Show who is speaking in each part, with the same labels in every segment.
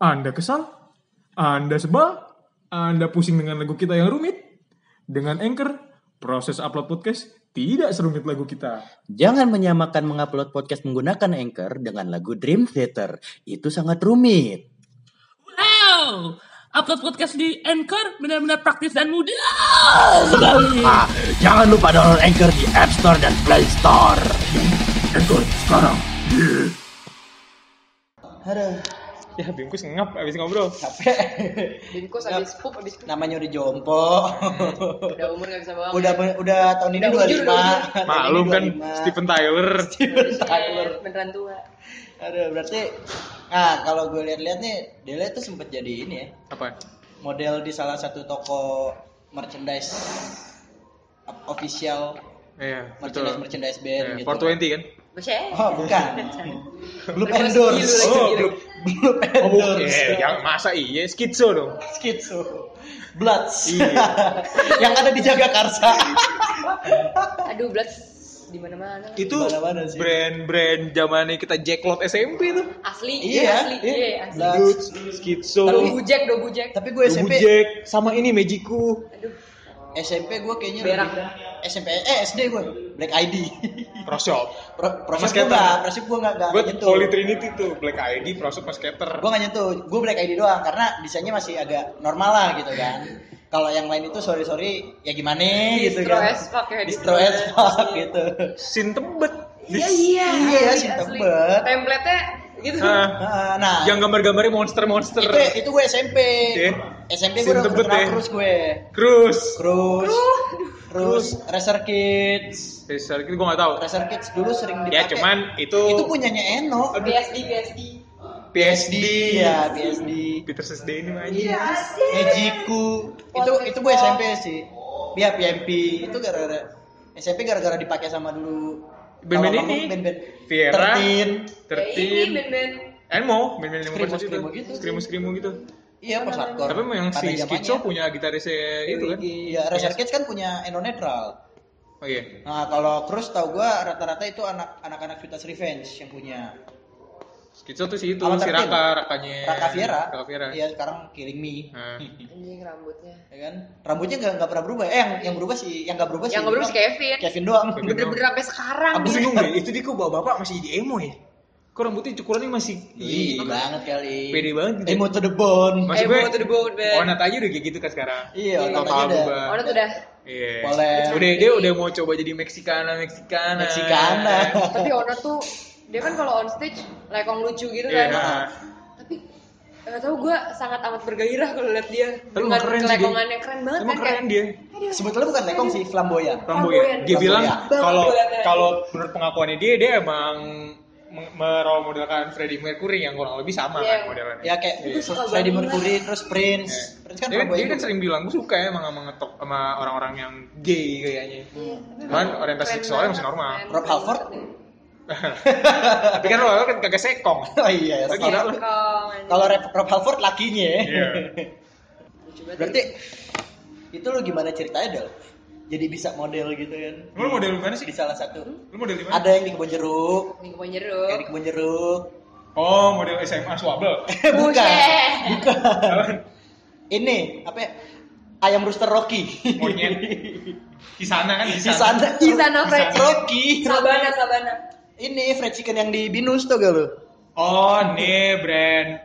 Speaker 1: Anda kesal, Anda sebal, Anda pusing dengan lagu kita yang rumit. Dengan Anchor, proses upload podcast tidak serumit lagu kita.
Speaker 2: Jangan menyamakan mengupload podcast menggunakan Anchor dengan lagu Dream Theater. Itu sangat rumit.
Speaker 3: Wow, upload podcast di Anchor benar-benar praktis dan mudah sekali.
Speaker 2: Ah, jangan lupa download Anchor di App Store dan Play Store.
Speaker 1: Anchor sekarang.
Speaker 2: Aduh,
Speaker 1: Ya, bingkus ngap abis ngobrol.
Speaker 2: capek.
Speaker 4: Bingkus
Speaker 2: Ya.
Speaker 4: habis pup habis pup.
Speaker 2: Namanya udah jompo.
Speaker 4: Udah umur gak bisa bawa.
Speaker 2: udah udah tahun ini
Speaker 4: Udah
Speaker 2: dua
Speaker 4: ujur, udah ujur.
Speaker 1: Maklum kan Steven Tyler.
Speaker 2: Tyler.
Speaker 4: Beneran tua.
Speaker 2: Aduh, berarti nah kalau gue lihat-lihat nih, Dele tuh sempet jadi ini ya,
Speaker 1: Apa?
Speaker 2: model di salah satu toko merchandise ap- official
Speaker 1: Iya, betul.
Speaker 2: merchandise merchandise band
Speaker 1: Iya,
Speaker 2: gitu.
Speaker 1: 420 kan?
Speaker 4: Bisa ya?
Speaker 2: Oh, bukan. Blue
Speaker 4: Terus
Speaker 2: Endorse.
Speaker 4: biru lagi,
Speaker 2: Oh,
Speaker 4: biru.
Speaker 2: Blue, Blue
Speaker 1: Oh, bukan.
Speaker 2: Endorse.
Speaker 1: Eh, yang masa iya skitso dong.
Speaker 2: Schizo. Bloods.
Speaker 1: Iya.
Speaker 2: yang ada di Jagakarsa.
Speaker 4: Aduh, Bloods di mana-mana. kan.
Speaker 1: Itu
Speaker 2: Mana-mana sih.
Speaker 1: brand-brand zamannya kita Jacklot SMP tuh.
Speaker 4: Asli,
Speaker 2: Iya,
Speaker 4: asli,
Speaker 2: iya.
Speaker 4: iya, asli.
Speaker 2: Lah,
Speaker 1: Bloods, skitso.
Speaker 4: Do
Speaker 2: Tapi-
Speaker 4: bujek, do bujek.
Speaker 2: Tapi gue SMP
Speaker 1: Jack sama ini Magiku.
Speaker 4: Aduh,
Speaker 2: SMP gue kayaknya
Speaker 4: Berak.
Speaker 2: lebih- SMP eh SD gue Black ID.
Speaker 1: Pro Shop.
Speaker 2: Pro, proses gue
Speaker 1: Skater.
Speaker 2: nggak, proses gue nggak gitu. nggak
Speaker 1: Gue
Speaker 2: nyentuh.
Speaker 1: Holy Trinity tuh Black ID, Pro Shop, Skater.
Speaker 2: Gue nggak nyentuh, gue Black ID doang karena desainnya masih agak normal lah gitu kan. Kalau yang lain itu sorry sorry ya gimana gitu
Speaker 4: Distro
Speaker 2: kan.
Speaker 4: as fuck ya,
Speaker 2: Distro
Speaker 4: distro
Speaker 2: as
Speaker 4: as
Speaker 2: fuck gitu.
Speaker 1: Sin tebet.
Speaker 4: Iya, iya.
Speaker 2: Iya, si
Speaker 4: asli, asli.
Speaker 2: tebet.
Speaker 4: Template-nya gitu.
Speaker 1: Ah,
Speaker 2: Nah, nah,
Speaker 1: yang gambar-gambarnya monster-monster.
Speaker 2: itu itu gue SMP.
Speaker 1: Deh.
Speaker 2: SMP gue udah
Speaker 1: Sintebet
Speaker 2: kenal
Speaker 1: deh.
Speaker 2: terus gue.
Speaker 1: Cruise.
Speaker 2: Terus, terus
Speaker 1: Terus.
Speaker 2: Racer Kids.
Speaker 1: Besar itu gue gak tahu.
Speaker 2: Racer Kids dulu sering
Speaker 1: Ya
Speaker 2: dipakai.
Speaker 1: cuman itu,
Speaker 2: itu punyanya Eno.
Speaker 4: PSD, PSD.
Speaker 1: PSD.
Speaker 2: Iya, PSD.
Speaker 1: Peter SD ini mah anjing.
Speaker 4: Iya, asli.
Speaker 2: Mejiku itu itu gue SMP sih ya PMP itu gara-gara SMP gara-gara dipakai sama dulu
Speaker 1: Band-band
Speaker 2: Kalau
Speaker 1: ini.
Speaker 2: ngomong band-band
Speaker 1: Fiera.
Speaker 2: Tertin
Speaker 4: Ya, ini
Speaker 1: Tertin.
Speaker 4: band-band.
Speaker 1: Enmo, main-main yang
Speaker 2: Skrimo-
Speaker 1: versus
Speaker 2: skrimo
Speaker 1: itu.
Speaker 2: gitu.
Speaker 1: Skrimo-skrimo gitu.
Speaker 2: iya pas hardcore
Speaker 1: Tapi memang
Speaker 2: Pada
Speaker 1: si
Speaker 2: zamannya.
Speaker 1: Skico punya gitarisnya itu kan.
Speaker 2: iya Razor Kids kan punya Eno Netral
Speaker 1: Oh iya.
Speaker 2: nah kalau Cruz tau gue rata-rata itu anak anak-anak Vitas Revenge yang punya
Speaker 1: Skico tuh si itu,
Speaker 2: Sama
Speaker 1: si
Speaker 2: Tertin.
Speaker 1: Raka, Rakanya.
Speaker 2: Raka Fiera
Speaker 1: Raka Fiera.
Speaker 2: iya sekarang Killing Me
Speaker 1: Nah.
Speaker 4: Anjing rambutnya.
Speaker 2: ya kan rambutnya nggak nggak pernah berubah eh yang yang berubah sih yang nggak berubah
Speaker 4: Yang
Speaker 2: sih
Speaker 4: nggak berubah si Kevin.
Speaker 2: Kevin doang
Speaker 1: Kevin.
Speaker 4: Bener-bener sampai sekarang.
Speaker 1: Aku bingung deh, itu dia kok bapak-bapak masih jadi emo ya? Kok rambutnya cukurannya masih
Speaker 2: Iya banget kali.
Speaker 1: Pede banget gitu.
Speaker 2: Emo to the bone.
Speaker 1: Maksud
Speaker 4: Emo
Speaker 1: gue,
Speaker 4: Eh, to the bone, Ben.
Speaker 1: Onat aja udah kayak gitu kan sekarang.
Speaker 2: Iya,
Speaker 1: Total
Speaker 2: Onat aja udah.
Speaker 1: berubah.
Speaker 4: Orang tuh udah.
Speaker 1: Iya.
Speaker 2: Boleh.
Speaker 1: Udah dia udah mau coba jadi Meksikana, Meksikana.
Speaker 2: Meksikana.
Speaker 4: Tapi Ono tuh dia kan kalau on stage lekong lucu gitu
Speaker 1: Iya.
Speaker 4: kan. Tapi nggak tahu gue sangat amat bergairah kalau lihat dia
Speaker 1: Tapi
Speaker 4: dengan
Speaker 1: emang keren sih dia.
Speaker 4: kelekongannya keren banget
Speaker 1: Emang
Speaker 4: kan
Speaker 1: keren
Speaker 4: kayak
Speaker 1: dia. ya?
Speaker 2: Sebetulnya bukan lekong sih, flamboyan.
Speaker 1: Flamboyan. Dia
Speaker 2: Flamboyan.
Speaker 1: bilang
Speaker 4: Banget
Speaker 1: kalau
Speaker 2: ya,
Speaker 4: kelihatannya.
Speaker 1: kalau menurut pengakuannya dia dia emang meng- merole modelkan Freddie Mercury yang kurang lebih sama
Speaker 4: Iya.
Speaker 1: kan modelannya.
Speaker 2: Ya kayak
Speaker 4: Itu suka
Speaker 2: Freddie
Speaker 4: banget.
Speaker 2: Mercury, terus Prince.
Speaker 1: Dia, kan-
Speaker 2: Prince kan
Speaker 1: dia
Speaker 2: flamboyan.
Speaker 1: kan
Speaker 2: juga.
Speaker 1: sering bilang gue suka ya emang sama ngetop sama orang-orang yang gay kayaknya. Cuman orientasi seksualnya masih normal.
Speaker 2: Rob
Speaker 4: Keren banget. kan.
Speaker 2: Halford?
Speaker 1: Tapi kan lo kan kagak sekong.
Speaker 2: Oh iya, ya,
Speaker 1: Itu
Speaker 2: salah.
Speaker 1: gila.
Speaker 4: Lekong, anjing.
Speaker 2: Kalau Rob Rob Halford lakinya ya.
Speaker 1: Iya.
Speaker 4: Lucu banget.
Speaker 2: Berarti itu lu gimana ceritanya Del? Jadi bisa model gitu kan?
Speaker 1: Lu model di mana sih? Hmm?
Speaker 2: Di salah satu.
Speaker 1: Lu model di mana?
Speaker 2: Ada yang di kebun jeruk,
Speaker 4: lingkungan jeruk.
Speaker 2: kayak di kebun jeruk.
Speaker 1: Oh, model SMA swabel.
Speaker 2: bukan,
Speaker 4: Buset.
Speaker 2: bukan.
Speaker 1: Apaan?
Speaker 2: Ini apa? ya? Ayam rooster Rocky.
Speaker 1: Monyet. Di sana kan di
Speaker 2: di
Speaker 1: sana.
Speaker 2: sana
Speaker 4: Di sana, Fred.
Speaker 2: Rocky
Speaker 4: Sabana, sabana.
Speaker 2: ini fried chicken yang di binus tuh gak lo
Speaker 1: Oh, nih brand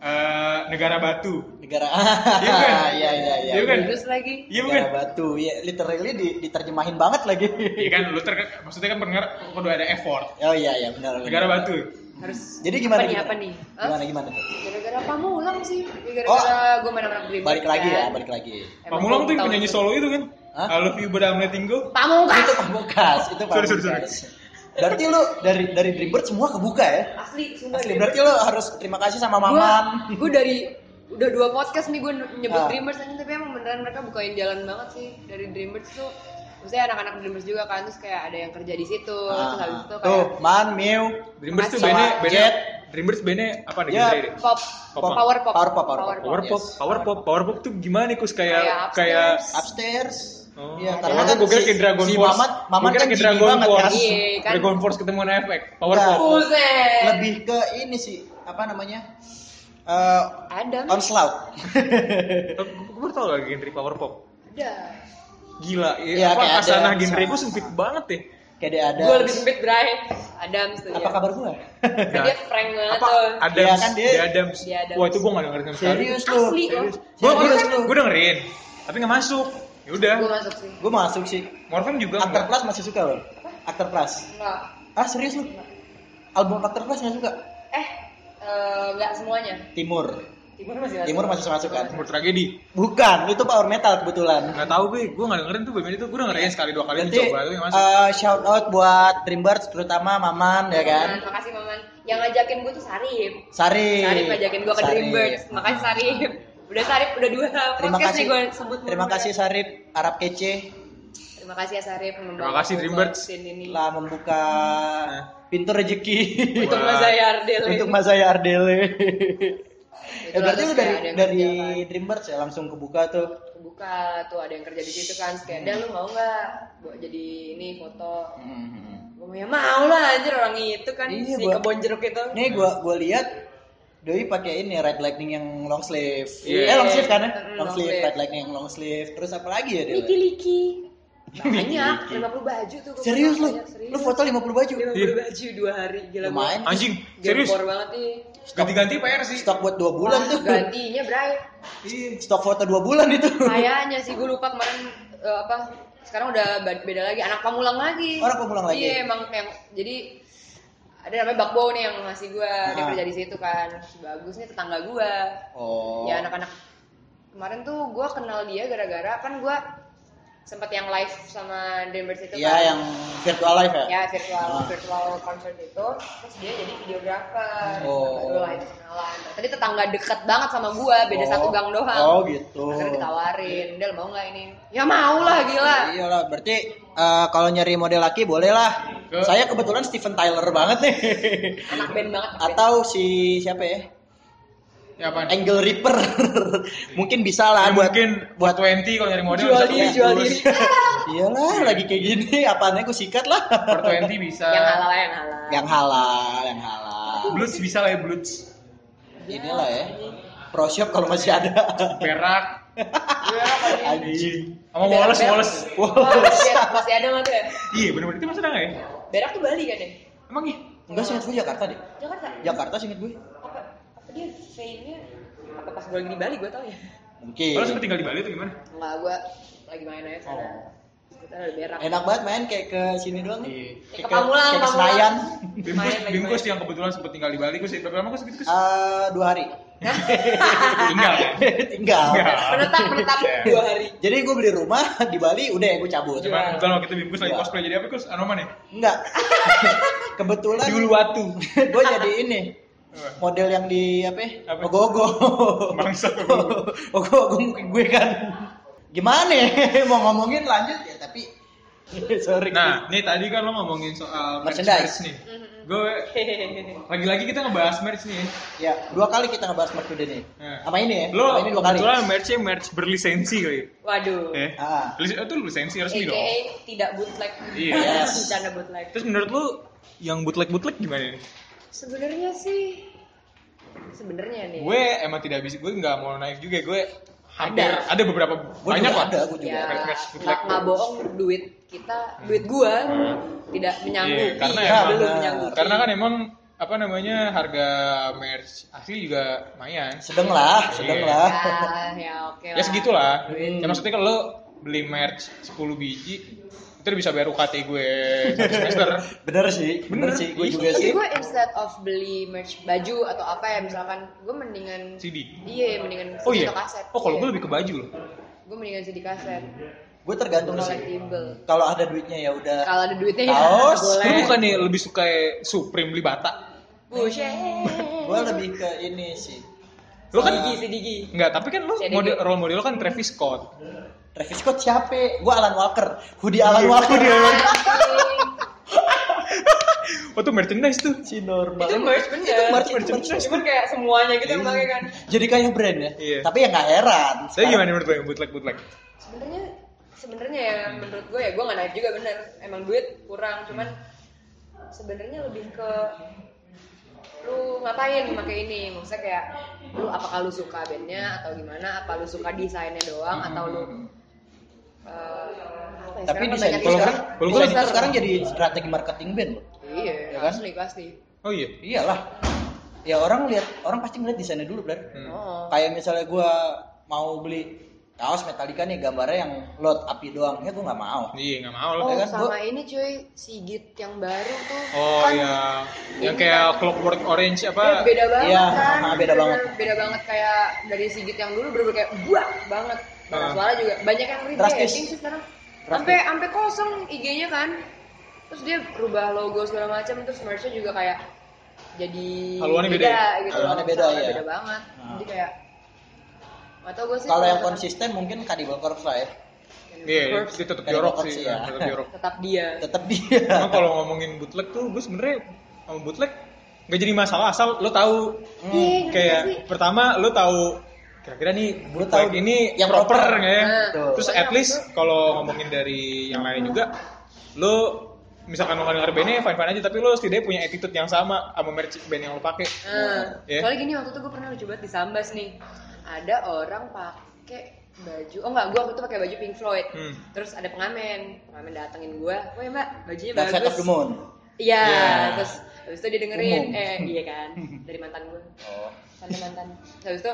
Speaker 1: eh, negara batu.
Speaker 2: negara
Speaker 1: Iya bukan?
Speaker 2: iya iya iya
Speaker 1: Iya bukan?
Speaker 4: Terus lagi.
Speaker 1: Iya bukan?
Speaker 2: negara batu ya literally di, diterjemahin banget lagi
Speaker 1: Iya kan, lu ter maksudnya kan pendengar kudu ada effort.
Speaker 2: oh iya iya benar benar.
Speaker 1: Negara batu.
Speaker 4: Harus
Speaker 2: jadi gimana
Speaker 4: apa nih?
Speaker 2: gimana?
Speaker 4: Apa nih? Hah?
Speaker 2: gimana gimana
Speaker 4: Gara-gara pamulang sih. Gara-gara gue main Kan? anak Blimbing.
Speaker 2: Oh. balik lagi ya balik lagi
Speaker 1: Pamulang tuh yang penyanyi solo itu kan.
Speaker 2: Hah?
Speaker 1: I love you but I'm letting go.
Speaker 4: Pamungkas.
Speaker 2: itu pamungkas itu
Speaker 1: Sorry, sorry,
Speaker 2: pamungkas berarti lu dari dari Dreambird semua kebuka ya
Speaker 4: Asli, sumpah.
Speaker 2: Asli, berarti lu harus terima kasih sama Maman
Speaker 4: Gue dari udah dua podcast nih gue nyebut
Speaker 2: Ah.
Speaker 4: Dreamers anjing, tapi emang beneran mereka bukain jalan banget sih dari Dreamers tuh. Maksudnya anak-anak Dreamers juga kan terus kayak ada yang kerja di situ, terus habis itu
Speaker 2: Ah,
Speaker 4: kayak
Speaker 2: tuh Man Mew
Speaker 1: Dreamers tuh
Speaker 2: Sama
Speaker 1: bandnya, bandnya
Speaker 2: Jet.
Speaker 1: Dreamers bandnya apa nih?
Speaker 2: Ya.
Speaker 1: genre deh?
Speaker 4: pop,
Speaker 1: Pop.
Speaker 4: power pop,
Speaker 2: Power pop, power pop.
Speaker 1: Power pop,
Speaker 2: Yes.
Speaker 1: power pop, power pop tuh gimana kus kayak
Speaker 4: Kayak
Speaker 1: kayak
Speaker 4: upstairs.
Speaker 2: upstairs
Speaker 1: Oh.
Speaker 2: Iya,
Speaker 1: karena kan gue kira kayak Dragon
Speaker 2: si
Speaker 1: Force.
Speaker 2: Mamat,
Speaker 1: Gue
Speaker 2: Mamat
Speaker 1: kira
Speaker 2: kan
Speaker 1: kayak
Speaker 2: gini
Speaker 1: Dragon
Speaker 2: banget
Speaker 1: Force.
Speaker 2: kan.
Speaker 4: Iya, kan.
Speaker 1: Dragon Force ketemu efek, power
Speaker 2: Nah.
Speaker 1: pop.
Speaker 4: Buset.
Speaker 2: Lebih ke ini sih, apa namanya? eh,
Speaker 4: Ada. men.
Speaker 2: onslaught.
Speaker 1: Gue baru tau lah genre power pop.
Speaker 4: Ada.
Speaker 1: Gila,
Speaker 2: Iya,
Speaker 1: ya,
Speaker 2: kayak
Speaker 1: apa
Speaker 2: ada Iya,
Speaker 1: kasanah
Speaker 2: yang
Speaker 1: genre
Speaker 2: sama.
Speaker 1: gue sempit banget ya.
Speaker 2: Kayak dia ada.
Speaker 4: Gue lebih sempit Bray. Adams tuh
Speaker 2: Apa
Speaker 4: ya.
Speaker 2: kabar gua?
Speaker 4: Kan dia prank banget
Speaker 1: Apa?
Speaker 4: tuh.
Speaker 1: Adams,
Speaker 2: Iya, kan dia-
Speaker 1: The Adams.
Speaker 4: The Adams.
Speaker 1: Wah itu gue gak dengerin sama sekali.
Speaker 2: Serius lu.
Speaker 4: Asli loh.
Speaker 1: Gue
Speaker 2: Serius lu.
Speaker 1: gue dengerin, tapi gak masuk. Ya udah,
Speaker 4: Gue masuk sih.
Speaker 2: Gue masuk sih.
Speaker 1: Morfem juga
Speaker 2: Aktor
Speaker 1: enggak.
Speaker 2: Plus masih suka loh. Aktor Plus.
Speaker 4: Enggak.
Speaker 2: Ah serius lu? Album Aktor Plus nggak suka?
Speaker 4: Eh, eh, enggak semuanya.
Speaker 2: Timur.
Speaker 4: Timur masih masuk.
Speaker 2: Timur masih masuk kan?
Speaker 1: Umur tragedi.
Speaker 2: Bukan, itu power metal kebetulan.
Speaker 1: Gak tau gue, gue gak dengerin tuh BMN itu. Gue dengerin sekali dua kali
Speaker 2: Berarti
Speaker 1: dicoba tapi gak masuk.
Speaker 2: eh, shout out buat Dreambirds terutama Maman ya kan.
Speaker 4: Maman, makasih Maman. Yang ngajakin gue tuh Sarif.
Speaker 2: Sari.
Speaker 4: Sarif ngajakin gue ke
Speaker 2: Sarif.
Speaker 4: Dreambirds. Makasih Sarif. Udah Sarif, udah dua
Speaker 2: Terima
Speaker 4: podcast
Speaker 2: kasih.
Speaker 4: nih gue sebut.
Speaker 2: Terima
Speaker 4: mulu. ya.
Speaker 2: kasih Sarip Arab kece
Speaker 4: Terima kasih ya Sarif.
Speaker 1: Terima kasih, Dreambirds.
Speaker 4: Ini.
Speaker 2: telah membuka
Speaker 4: Nah.
Speaker 2: pintu rezeki
Speaker 4: Untuk
Speaker 1: Wah.
Speaker 4: Mas Zayardel.
Speaker 2: untuk Mas saya Ardele. ya
Speaker 4: Itu
Speaker 2: berarti
Speaker 4: harus
Speaker 2: lu dari
Speaker 4: kayak ada yang
Speaker 2: dari
Speaker 4: kerjaan.
Speaker 2: Dreambirds ya langsung kebuka tuh.
Speaker 4: buka tuh ada yang kerja di situ kan Terus kayak ada lu mau nggak buat jadi ini foto gue ya mau lah anjir orang itu kan
Speaker 2: Iya,
Speaker 4: si
Speaker 2: gua-
Speaker 4: kebon jeruk itu
Speaker 2: Ini gua gua lihat Doi pakai ini red lightning yang long sleeve.
Speaker 1: Iya.
Speaker 2: Eh long sleeve kan ya?
Speaker 4: Mm,
Speaker 2: Long
Speaker 4: long
Speaker 2: sleeve,
Speaker 4: sleeve.
Speaker 2: red lightning yang long sleeve. Terus apa lagi ya
Speaker 4: liki
Speaker 2: Dele?
Speaker 4: liki banyak lima puluh baju tuh gua
Speaker 2: Serius
Speaker 4: foto
Speaker 2: lu?
Speaker 4: banyak, Iya, serius.
Speaker 2: Lu foto 50 baju.
Speaker 4: lima puluh baju dua hari gila gua.
Speaker 2: Lumayan.
Speaker 1: Anjing, serius.
Speaker 4: gempor banget nih
Speaker 1: Ganti-ganti PR sih.
Speaker 2: Stok buat 2 bulan
Speaker 4: Wah,
Speaker 2: tuh.
Speaker 4: gantinya Bray
Speaker 2: Stok foto 2 bulan itu.
Speaker 4: kayaknya sih gue lupa kemarin eh, apa sekarang udah ba- beda lagi anak pamulang lagi
Speaker 2: Orang Oh, pamulang lagi?
Speaker 4: iya emang yang jadi ada namanya Bakbo nih yang ngasih gue dia
Speaker 2: Ah.
Speaker 4: kerja di situ kan bagus nih tetangga gue
Speaker 2: Oh.
Speaker 4: ya anak-anak kemarin tuh gue kenal dia gara-gara kan gue sempat yang live sama Denvers itu
Speaker 2: Iya
Speaker 4: kan
Speaker 2: yang virtual live ya?
Speaker 4: ya virtual
Speaker 2: Ah.
Speaker 4: virtual concert itu terus dia jadi videografer
Speaker 2: Oh.
Speaker 4: baru lah itu kenalan tadi tetangga deket banget sama gue beda
Speaker 2: Oh.
Speaker 4: satu gang doang
Speaker 2: Oh gitu.
Speaker 4: Akhirnya ditawarin, Del mau nggak ini? Ya mau lah gila.
Speaker 2: Iya lah, berarti eh, kalau nyari model laki boleh lah.
Speaker 1: Ke-
Speaker 2: Saya kebetulan Steven Tyler banget nih.
Speaker 4: Anak band banget.
Speaker 2: Atau si siapa ya?
Speaker 1: Ya apaan?
Speaker 2: Angle Reaper. mungkin bisa
Speaker 1: Ya,
Speaker 2: lah Eh, buat
Speaker 1: mungkin buat 20 kalau nyari model bisa
Speaker 2: diri,
Speaker 1: kurus.
Speaker 2: jual diri. Iyalah, lagi kayak gini apaannya gue sikat lah.
Speaker 1: For 20 bisa.
Speaker 4: Yang halal ya, yang halal.
Speaker 2: yang halal, yang halal.
Speaker 1: Bloods bisa lah ya Bloods.
Speaker 2: Inilah ya. Pro shop kalau masih ada.
Speaker 1: Perak.
Speaker 2: Anjing.
Speaker 1: Sama Wallace, Wallace.
Speaker 2: Wow.
Speaker 4: Masih ada nggak tuh ya?
Speaker 1: Iya bener-bener itu masih ada gak ya?
Speaker 4: Berak tuh Bali kan ya?
Speaker 1: Emang iya?
Speaker 2: Enggak sih, gue Jakarta deh.
Speaker 4: Jakarta.
Speaker 2: Jakarta sih ingat gue.
Speaker 4: Apa? Apa dia fame-nya? Apa pas gue lagi di Bali gue tau ya?
Speaker 2: Mungkin.
Speaker 1: Kalau sempet tinggal di Bali atau gimana?
Speaker 4: Enggak, gue lagi main aja sana.
Speaker 2: Oh.
Speaker 4: Kita ada berak.
Speaker 2: Enak banget main kayak ke sini doang. nih.
Speaker 1: Iya.
Speaker 4: Kayak ke Pamulang,
Speaker 2: kayak ke
Speaker 4: Pamulang.
Speaker 2: Senayan.
Speaker 1: Bimkus,
Speaker 4: Main lagi,
Speaker 1: Bimkus
Speaker 4: main.
Speaker 1: yang kebetulan sempet tinggal di Bali, gue sih berapa lama gue sempet kus?
Speaker 2: Eh, dua hari.
Speaker 1: Tinggal ya?
Speaker 2: Tinggal.
Speaker 1: Tinggal.
Speaker 4: Menetap menetap dua hari.
Speaker 2: Jadi gue beli rumah di Bali, udah ya gue cabut.
Speaker 1: Cuma kebetulan waktu itu Bimkus lagi
Speaker 2: Iya.
Speaker 1: cosplay jadi apa kus? Anoman ya?
Speaker 2: Enggak. Kebetulan
Speaker 1: Di Uluwatu.
Speaker 2: gue jadi ini model yang di apa? ya?
Speaker 1: Apa?
Speaker 2: Ogo-ogo.
Speaker 1: Bangsa.
Speaker 2: Ogo-ogo mungkin gue kan. Gimana ya? mau ngomongin lanjut ya tapi sorry.
Speaker 1: Nah, nih tadi kan lo ngomongin soal merchandise
Speaker 2: Merchandise.
Speaker 1: nih. Gue lagi-lagi kita ngebahas merch nih.
Speaker 2: ya dua kali kita ngebahas merch udah nih.
Speaker 1: Eh.
Speaker 2: Sama ini ya?
Speaker 1: Lo
Speaker 2: Sama ini dua kali.
Speaker 1: kebetulan merchnya merch berlisensi kali.
Speaker 4: Waduh.
Speaker 1: Ya.
Speaker 2: Ah.
Speaker 1: Lis- Itu lisensi resmi dong.
Speaker 4: AKA tidak bootleg.
Speaker 1: Iya.
Speaker 2: Yes.
Speaker 4: Bercanda bootleg.
Speaker 1: Terus menurut lu yang bootleg-bootleg gimana nih?
Speaker 4: Sebenarnya sih sebenarnya nih.
Speaker 1: Gue emang tidak bisa, gue nggak mau naik juga, gue hampir ada, beberapa
Speaker 2: Gua
Speaker 1: banyak
Speaker 2: juga
Speaker 1: lah.
Speaker 2: ada, gua juga
Speaker 4: ya
Speaker 1: ada. Merch bootleg.
Speaker 4: nggak nggak bohong duit kita duit gua
Speaker 1: Hmm.
Speaker 4: tidak menyanggupi
Speaker 1: Iya, karena
Speaker 4: ya,
Speaker 1: emang-
Speaker 4: belum Iya,
Speaker 2: benar.
Speaker 4: menyanggupi
Speaker 1: Karena kan emang apa namanya harga merch asli juga lumayan.
Speaker 2: Sedeng lah, sedeng
Speaker 1: Iya.
Speaker 2: lah.
Speaker 4: ya, ya oke lah
Speaker 1: Ya segitulah.
Speaker 4: Duit.
Speaker 1: Ya maksudnya kalau lo beli merch 10 biji itu udah bisa bayar UKT gue satu semester.
Speaker 2: Bener sih, bener,
Speaker 1: Bener. Iya.
Speaker 2: sih, gue juga
Speaker 4: jadi
Speaker 2: Iya sih.
Speaker 4: gua instead of beli merch baju atau apa ya misalkan gua mendingan
Speaker 1: CD.
Speaker 4: iya mendingan
Speaker 1: Oh iya.
Speaker 4: atau kaset
Speaker 1: Oh kalau
Speaker 4: Iya.
Speaker 1: gue lebih ke baju loh.
Speaker 4: Gua mendingan CD kaset
Speaker 2: Gue tergantung sih.
Speaker 4: collectible
Speaker 2: Kalau ada duitnya ya udah.
Speaker 4: kalau ada duitnya
Speaker 2: Kaos,
Speaker 4: ya
Speaker 1: Lu
Speaker 4: boleh
Speaker 1: bukan nih lebih suka Supreme beli bata.
Speaker 4: buset
Speaker 2: Gue lebih ke ini sih.
Speaker 1: Lu kan
Speaker 4: gigi sedigi
Speaker 1: Enggak, tapi kan lu
Speaker 4: Jadi
Speaker 1: model,
Speaker 4: dia-
Speaker 1: role model lu kan Travis Scott.
Speaker 2: Travis Scott siapa? Gue Alan Walker. Hoodie
Speaker 1: Iya,
Speaker 2: Alan Walker.
Speaker 1: Oh tuh merchandise tuh.
Speaker 2: si normal.
Speaker 4: itu merch bener
Speaker 2: Itu merch, itu merch.
Speaker 4: cuman kayak semuanya gitu yang pakai kan
Speaker 2: Jadi kayak brand ya.
Speaker 1: Iya.
Speaker 2: Tapi ya nggak heran.
Speaker 1: Tapi gimana menurut lo yang bootleg bootleg?
Speaker 4: sebenarnya sebenarnya ya
Speaker 2: Hmm.
Speaker 4: menurut gue ya gue nggak naik juga bener emang duit kurang cuman sebenarnya lebih ke lu ngapain pakai ini maksudnya kayak lu apakah lu suka bandnya atau gimana apa lu suka desainnya doang atau lu eh, apa
Speaker 2: Tapi
Speaker 4: ya,
Speaker 2: desain
Speaker 4: sekarang
Speaker 2: kan?
Speaker 4: banyak
Speaker 2: itu sekarang,
Speaker 4: desain.
Speaker 1: kalau
Speaker 2: desain
Speaker 4: sekarang-
Speaker 2: itu sekarang jadi strategi marketing band loh.
Speaker 4: iya
Speaker 2: Ya kan?
Speaker 4: asli pasti
Speaker 1: Oh iya.
Speaker 2: Iyalah. Ya orang lihat orang pasti ngeliat desainnya dulu, Bro.
Speaker 1: Hmm.
Speaker 4: oh
Speaker 2: Kayak misalnya gua mau beli kaos Metallica nih gambarnya yang lot api doang, ya gua nggak mau.
Speaker 1: Iya nggak mau lah.
Speaker 4: Oh,
Speaker 2: Ya kan,
Speaker 4: sama
Speaker 2: gua-
Speaker 4: ini cuy, Sigit yang baru tuh.
Speaker 1: Oh
Speaker 4: kan
Speaker 1: iya. Yang kayak Clockwork Orange
Speaker 4: Beda,
Speaker 1: apa?
Speaker 4: beda banget
Speaker 2: Iya,
Speaker 4: kan.
Speaker 2: ah, beda
Speaker 4: Bener-bener
Speaker 2: banget.
Speaker 4: Beda banget kayak dari Sigit yang dulu bener-bener kayak buah banget. Nah,
Speaker 1: Ah.
Speaker 4: suara juga banyak yang
Speaker 2: Drastis.
Speaker 4: redating sih sekarang.
Speaker 2: Drastis.
Speaker 4: Sampai sampai kosong IG-nya kan. Terus dia rubah logo segala macam terus merch-nya juga kayak jadi
Speaker 1: Haluannya beda ya?
Speaker 4: gitu.
Speaker 2: Haluannya beda,
Speaker 4: Soalnya
Speaker 2: iya.
Speaker 4: Beda banget.
Speaker 2: Ah.
Speaker 4: Jadi kayak Gak tau gue sih
Speaker 2: Kalau yang konsisten mungkin Cannibal Corpse lah ya.
Speaker 1: Iya,
Speaker 4: Corpse
Speaker 1: dia tetap
Speaker 2: Dari
Speaker 1: jorok
Speaker 2: bokap
Speaker 1: sih.
Speaker 2: sih ya.
Speaker 1: Tetap jorok.
Speaker 4: tetap dia.
Speaker 2: Tetap dia.
Speaker 1: Cuma kalau ngomongin bootleg tuh gue sebenernya sama bootleg nggak jadi masalah asal lo tahu
Speaker 2: Hmm,
Speaker 4: Iya, ngerti
Speaker 1: kayak
Speaker 4: sih.
Speaker 1: pertama lo tahu kira-kira nih
Speaker 2: Lu
Speaker 1: bootleg
Speaker 2: tahu
Speaker 1: ini
Speaker 2: yang
Speaker 1: yang proper,
Speaker 2: proper. Nah,
Speaker 1: nggak ya?
Speaker 2: Betul.
Speaker 1: Terus at least kalau ngomongin dari yang lain juga lo misalkan lo nggak denger bandnya fine fine aja tapi lo setidaknya punya attitude yang sama sama merch band yang lo pakai.
Speaker 4: Nah,
Speaker 1: Ya.
Speaker 4: Soalnya gini waktu itu gue pernah lucu banget di Sambas nih. Ada orang pakai baju, oh enggak, gue waktu itu pakai baju Pink Floyd.
Speaker 1: Hmm.
Speaker 4: Terus ada pengamen, pengamen datengin gue, wah mbak, bajunya
Speaker 2: Dark Side of the
Speaker 4: bagus.
Speaker 2: Moon.
Speaker 4: Iya,
Speaker 1: Ya.
Speaker 4: terus habis itu dia dengerin,
Speaker 2: Umum.
Speaker 4: eh iya kan, dari mantan gue,
Speaker 2: Oh.
Speaker 4: mantan mantan. Terus habis itu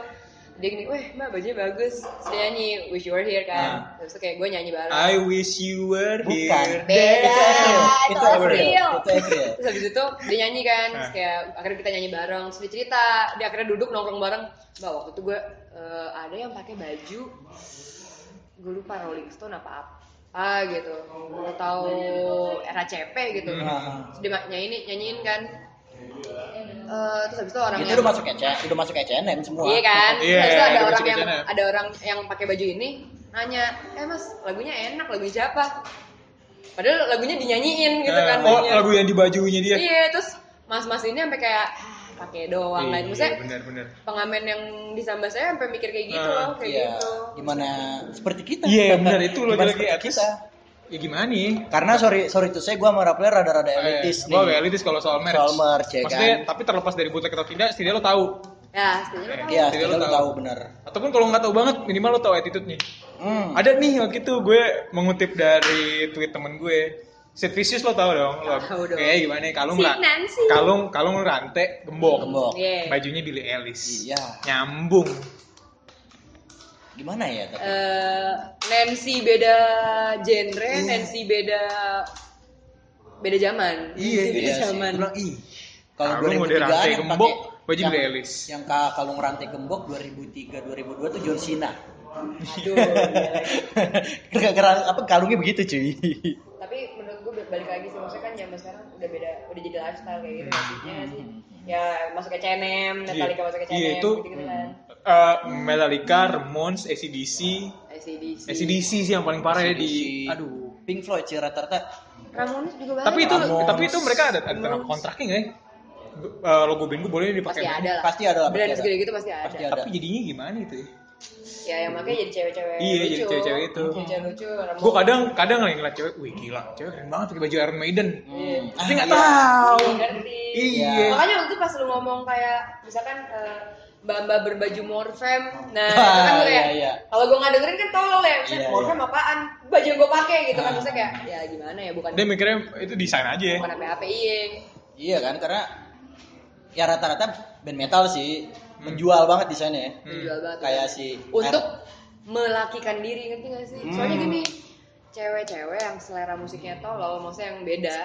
Speaker 4: dia gini, wah mbak bajunya bagus, terus dia nyanyi Wish You Were Here kan. Terus Habis itu kayak gue nyanyi bareng.
Speaker 1: I wish you were
Speaker 2: Bukan.
Speaker 1: here. Nah,
Speaker 4: Beda,
Speaker 2: Itu April.
Speaker 4: itu
Speaker 2: Itu April.
Speaker 4: April.
Speaker 2: Itu April.
Speaker 4: terus habis itu dia nyanyi kan terus
Speaker 1: Ah.
Speaker 4: kayak akhirnya kita nyanyi bareng terus dia cerita dia akhirnya duduk nongkrong bareng mbak waktu itu gue eh, ada yang pakai baju gue lupa Rolling Stone apa apa gitu atau RACP gitu
Speaker 2: Hmm.
Speaker 4: terus dia ma- nyanyi nyanyiin kan Eh, terus habis itu orang
Speaker 2: Itu
Speaker 4: yang-
Speaker 2: udah masuk ECM, udah masuk ECM semua.
Speaker 4: Iya kan?
Speaker 1: Iya, ya.
Speaker 4: Terus ada
Speaker 1: ada
Speaker 4: orang
Speaker 1: baju
Speaker 4: yang
Speaker 1: bejana.
Speaker 4: ada orang yang pakai baju ini nanya, "Eh Mas, lagunya enak, lagunya siapa?" Padahal lagunya dinyanyiin gitu kan.
Speaker 1: oh
Speaker 4: banyak.
Speaker 1: lagu yang di bajunya dia.
Speaker 4: Iya, terus mas-mas ini sampai kayak "Ah, pakai
Speaker 1: Iya,
Speaker 4: doang kan. Maksudnya
Speaker 1: benar-benar.
Speaker 4: pengamen yang disambas saya sampai mikir kayak gitu
Speaker 1: Ah,
Speaker 4: loh, kayak
Speaker 2: Iya.
Speaker 4: gitu.
Speaker 2: Gimana seperti kita.
Speaker 1: Iya, benar, itu
Speaker 2: Gimana
Speaker 1: lagi-lagi
Speaker 2: seperti
Speaker 1: at least-
Speaker 2: kita.
Speaker 1: Ya gimana nih?
Speaker 2: Karena sorry sorry tuh saya gue sama Rapler rada-rada
Speaker 1: Oh,
Speaker 2: elitis nih.
Speaker 1: Gue iya. elitis kalau soal merch.
Speaker 2: Soal merch, ya
Speaker 1: Maksudnya,
Speaker 2: kan?
Speaker 1: tapi terlepas dari bootleg atau tidak, setidaknya lo tahu.
Speaker 4: Ya, setidaknya lo tahu.
Speaker 2: Iya,
Speaker 1: Jadi
Speaker 2: kita
Speaker 1: lo
Speaker 2: lu
Speaker 1: tahu.
Speaker 2: tahu benar.
Speaker 1: Ataupun kalau nggak tahu banget, minimal lo tahu attitude-nya.
Speaker 2: Hmm.
Speaker 1: Ada nih waktu itu gue mengutip dari tweet temen gue. Sid Vicious lo tau dong, lo
Speaker 4: Tahu dong.
Speaker 1: kayak gimana nih, kalung
Speaker 4: Si
Speaker 1: ra-
Speaker 4: Nancy.
Speaker 1: kalung kalung rantai gembok,
Speaker 2: Gembok.
Speaker 4: Iya.
Speaker 1: bajunya Billy Ellis,
Speaker 2: Iya.
Speaker 1: nyambung,
Speaker 2: Gimana ya tapi?
Speaker 4: Eh, Nancy beda genre,
Speaker 1: Iya.
Speaker 4: Nancy beda beda zaman.
Speaker 1: Iya,
Speaker 4: Nancy beda
Speaker 2: sih.
Speaker 4: zaman.
Speaker 2: Gua bilang, ih. Kalau
Speaker 1: Kalung
Speaker 2: 2003
Speaker 1: udah rantai
Speaker 2: yang
Speaker 1: gembok,
Speaker 2: pakai-
Speaker 1: baju
Speaker 2: yang-
Speaker 1: Billy Ellis.
Speaker 2: Yang ka- kalung rantai gembok 2003 2002 tuh John Cena.
Speaker 4: Aduh. iya lagi.
Speaker 2: Gara-gara apa kalungnya begitu cuy.
Speaker 4: tapi menurut gue balik lagi sih maksudnya kan zaman sekarang udah beda udah jadi lifestyle kayak
Speaker 1: Hmm.
Speaker 4: gitu maksudnya sih
Speaker 2: Hmm.
Speaker 4: ya masuk ke CNM Metallica masuk ke CNM
Speaker 1: Iya, itu-
Speaker 4: gitu, kan
Speaker 2: Hmm.
Speaker 1: Eh, Metallica, Ramones, ACDC,
Speaker 4: ACDC
Speaker 1: ACDC sih yang paling parah ya di,
Speaker 2: ACDC.
Speaker 4: Iya.
Speaker 1: aduh.
Speaker 2: Pink Floyd sih rata-rata
Speaker 4: Ramones juga banyak
Speaker 1: Tapi itu
Speaker 2: Ramones.
Speaker 1: tapi itu mereka ada ada tanda kontraknya nggak ya? Eh, logo band gue boleh dipakai.
Speaker 4: pasti ada lah
Speaker 2: Pasti ada lah,
Speaker 4: brand
Speaker 2: pasti ada.
Speaker 4: segede gitu pasti ada
Speaker 2: Pasti ada. Ah,
Speaker 1: Tapi jadinya gimana itu ya?
Speaker 4: ya yang makanya jadi cewek-cewek
Speaker 1: Iya,
Speaker 4: lucu
Speaker 1: jadi cewek-cewek itu.
Speaker 4: cewek lucu Ramones
Speaker 1: Gue kadang kadang lagi ngeliat cewek, wih gila, cewek keren banget pakai baju Iron Maiden.
Speaker 4: Iya.
Speaker 1: Tapi nggak
Speaker 2: iya.
Speaker 1: tahu.
Speaker 4: Iya, ngerti.
Speaker 1: Iya.
Speaker 4: makanya waktu itu pas lu ngomong kayak misalkan eh, Mbak-mbak berbaju morfem, nah itu kan
Speaker 2: Iya,
Speaker 4: gue kayak,
Speaker 2: iya.
Speaker 4: kalau gue nggak dengerin kan tolol ya, maksudnya
Speaker 2: Iya,
Speaker 4: morfem apaan, baju yang gue pakai gitu kan,
Speaker 2: Ah.
Speaker 4: maksudnya kayak, ya gimana ya, bukan
Speaker 1: Iya. Dia mikirnya itu desain aja ya.
Speaker 4: bukan apa-apa, iya,
Speaker 2: Iya kan karena ya rata-rata band metal sih
Speaker 1: Hmm.
Speaker 2: menjual banget di sana ya.
Speaker 4: Menjual banget.
Speaker 2: Kayak si Hmm.
Speaker 4: untuk
Speaker 2: Iron-
Speaker 4: melakikan diri ngerti gak sih? Soalnya gini, cewek-cewek yang selera musiknya tolol, maksudnya yang beda,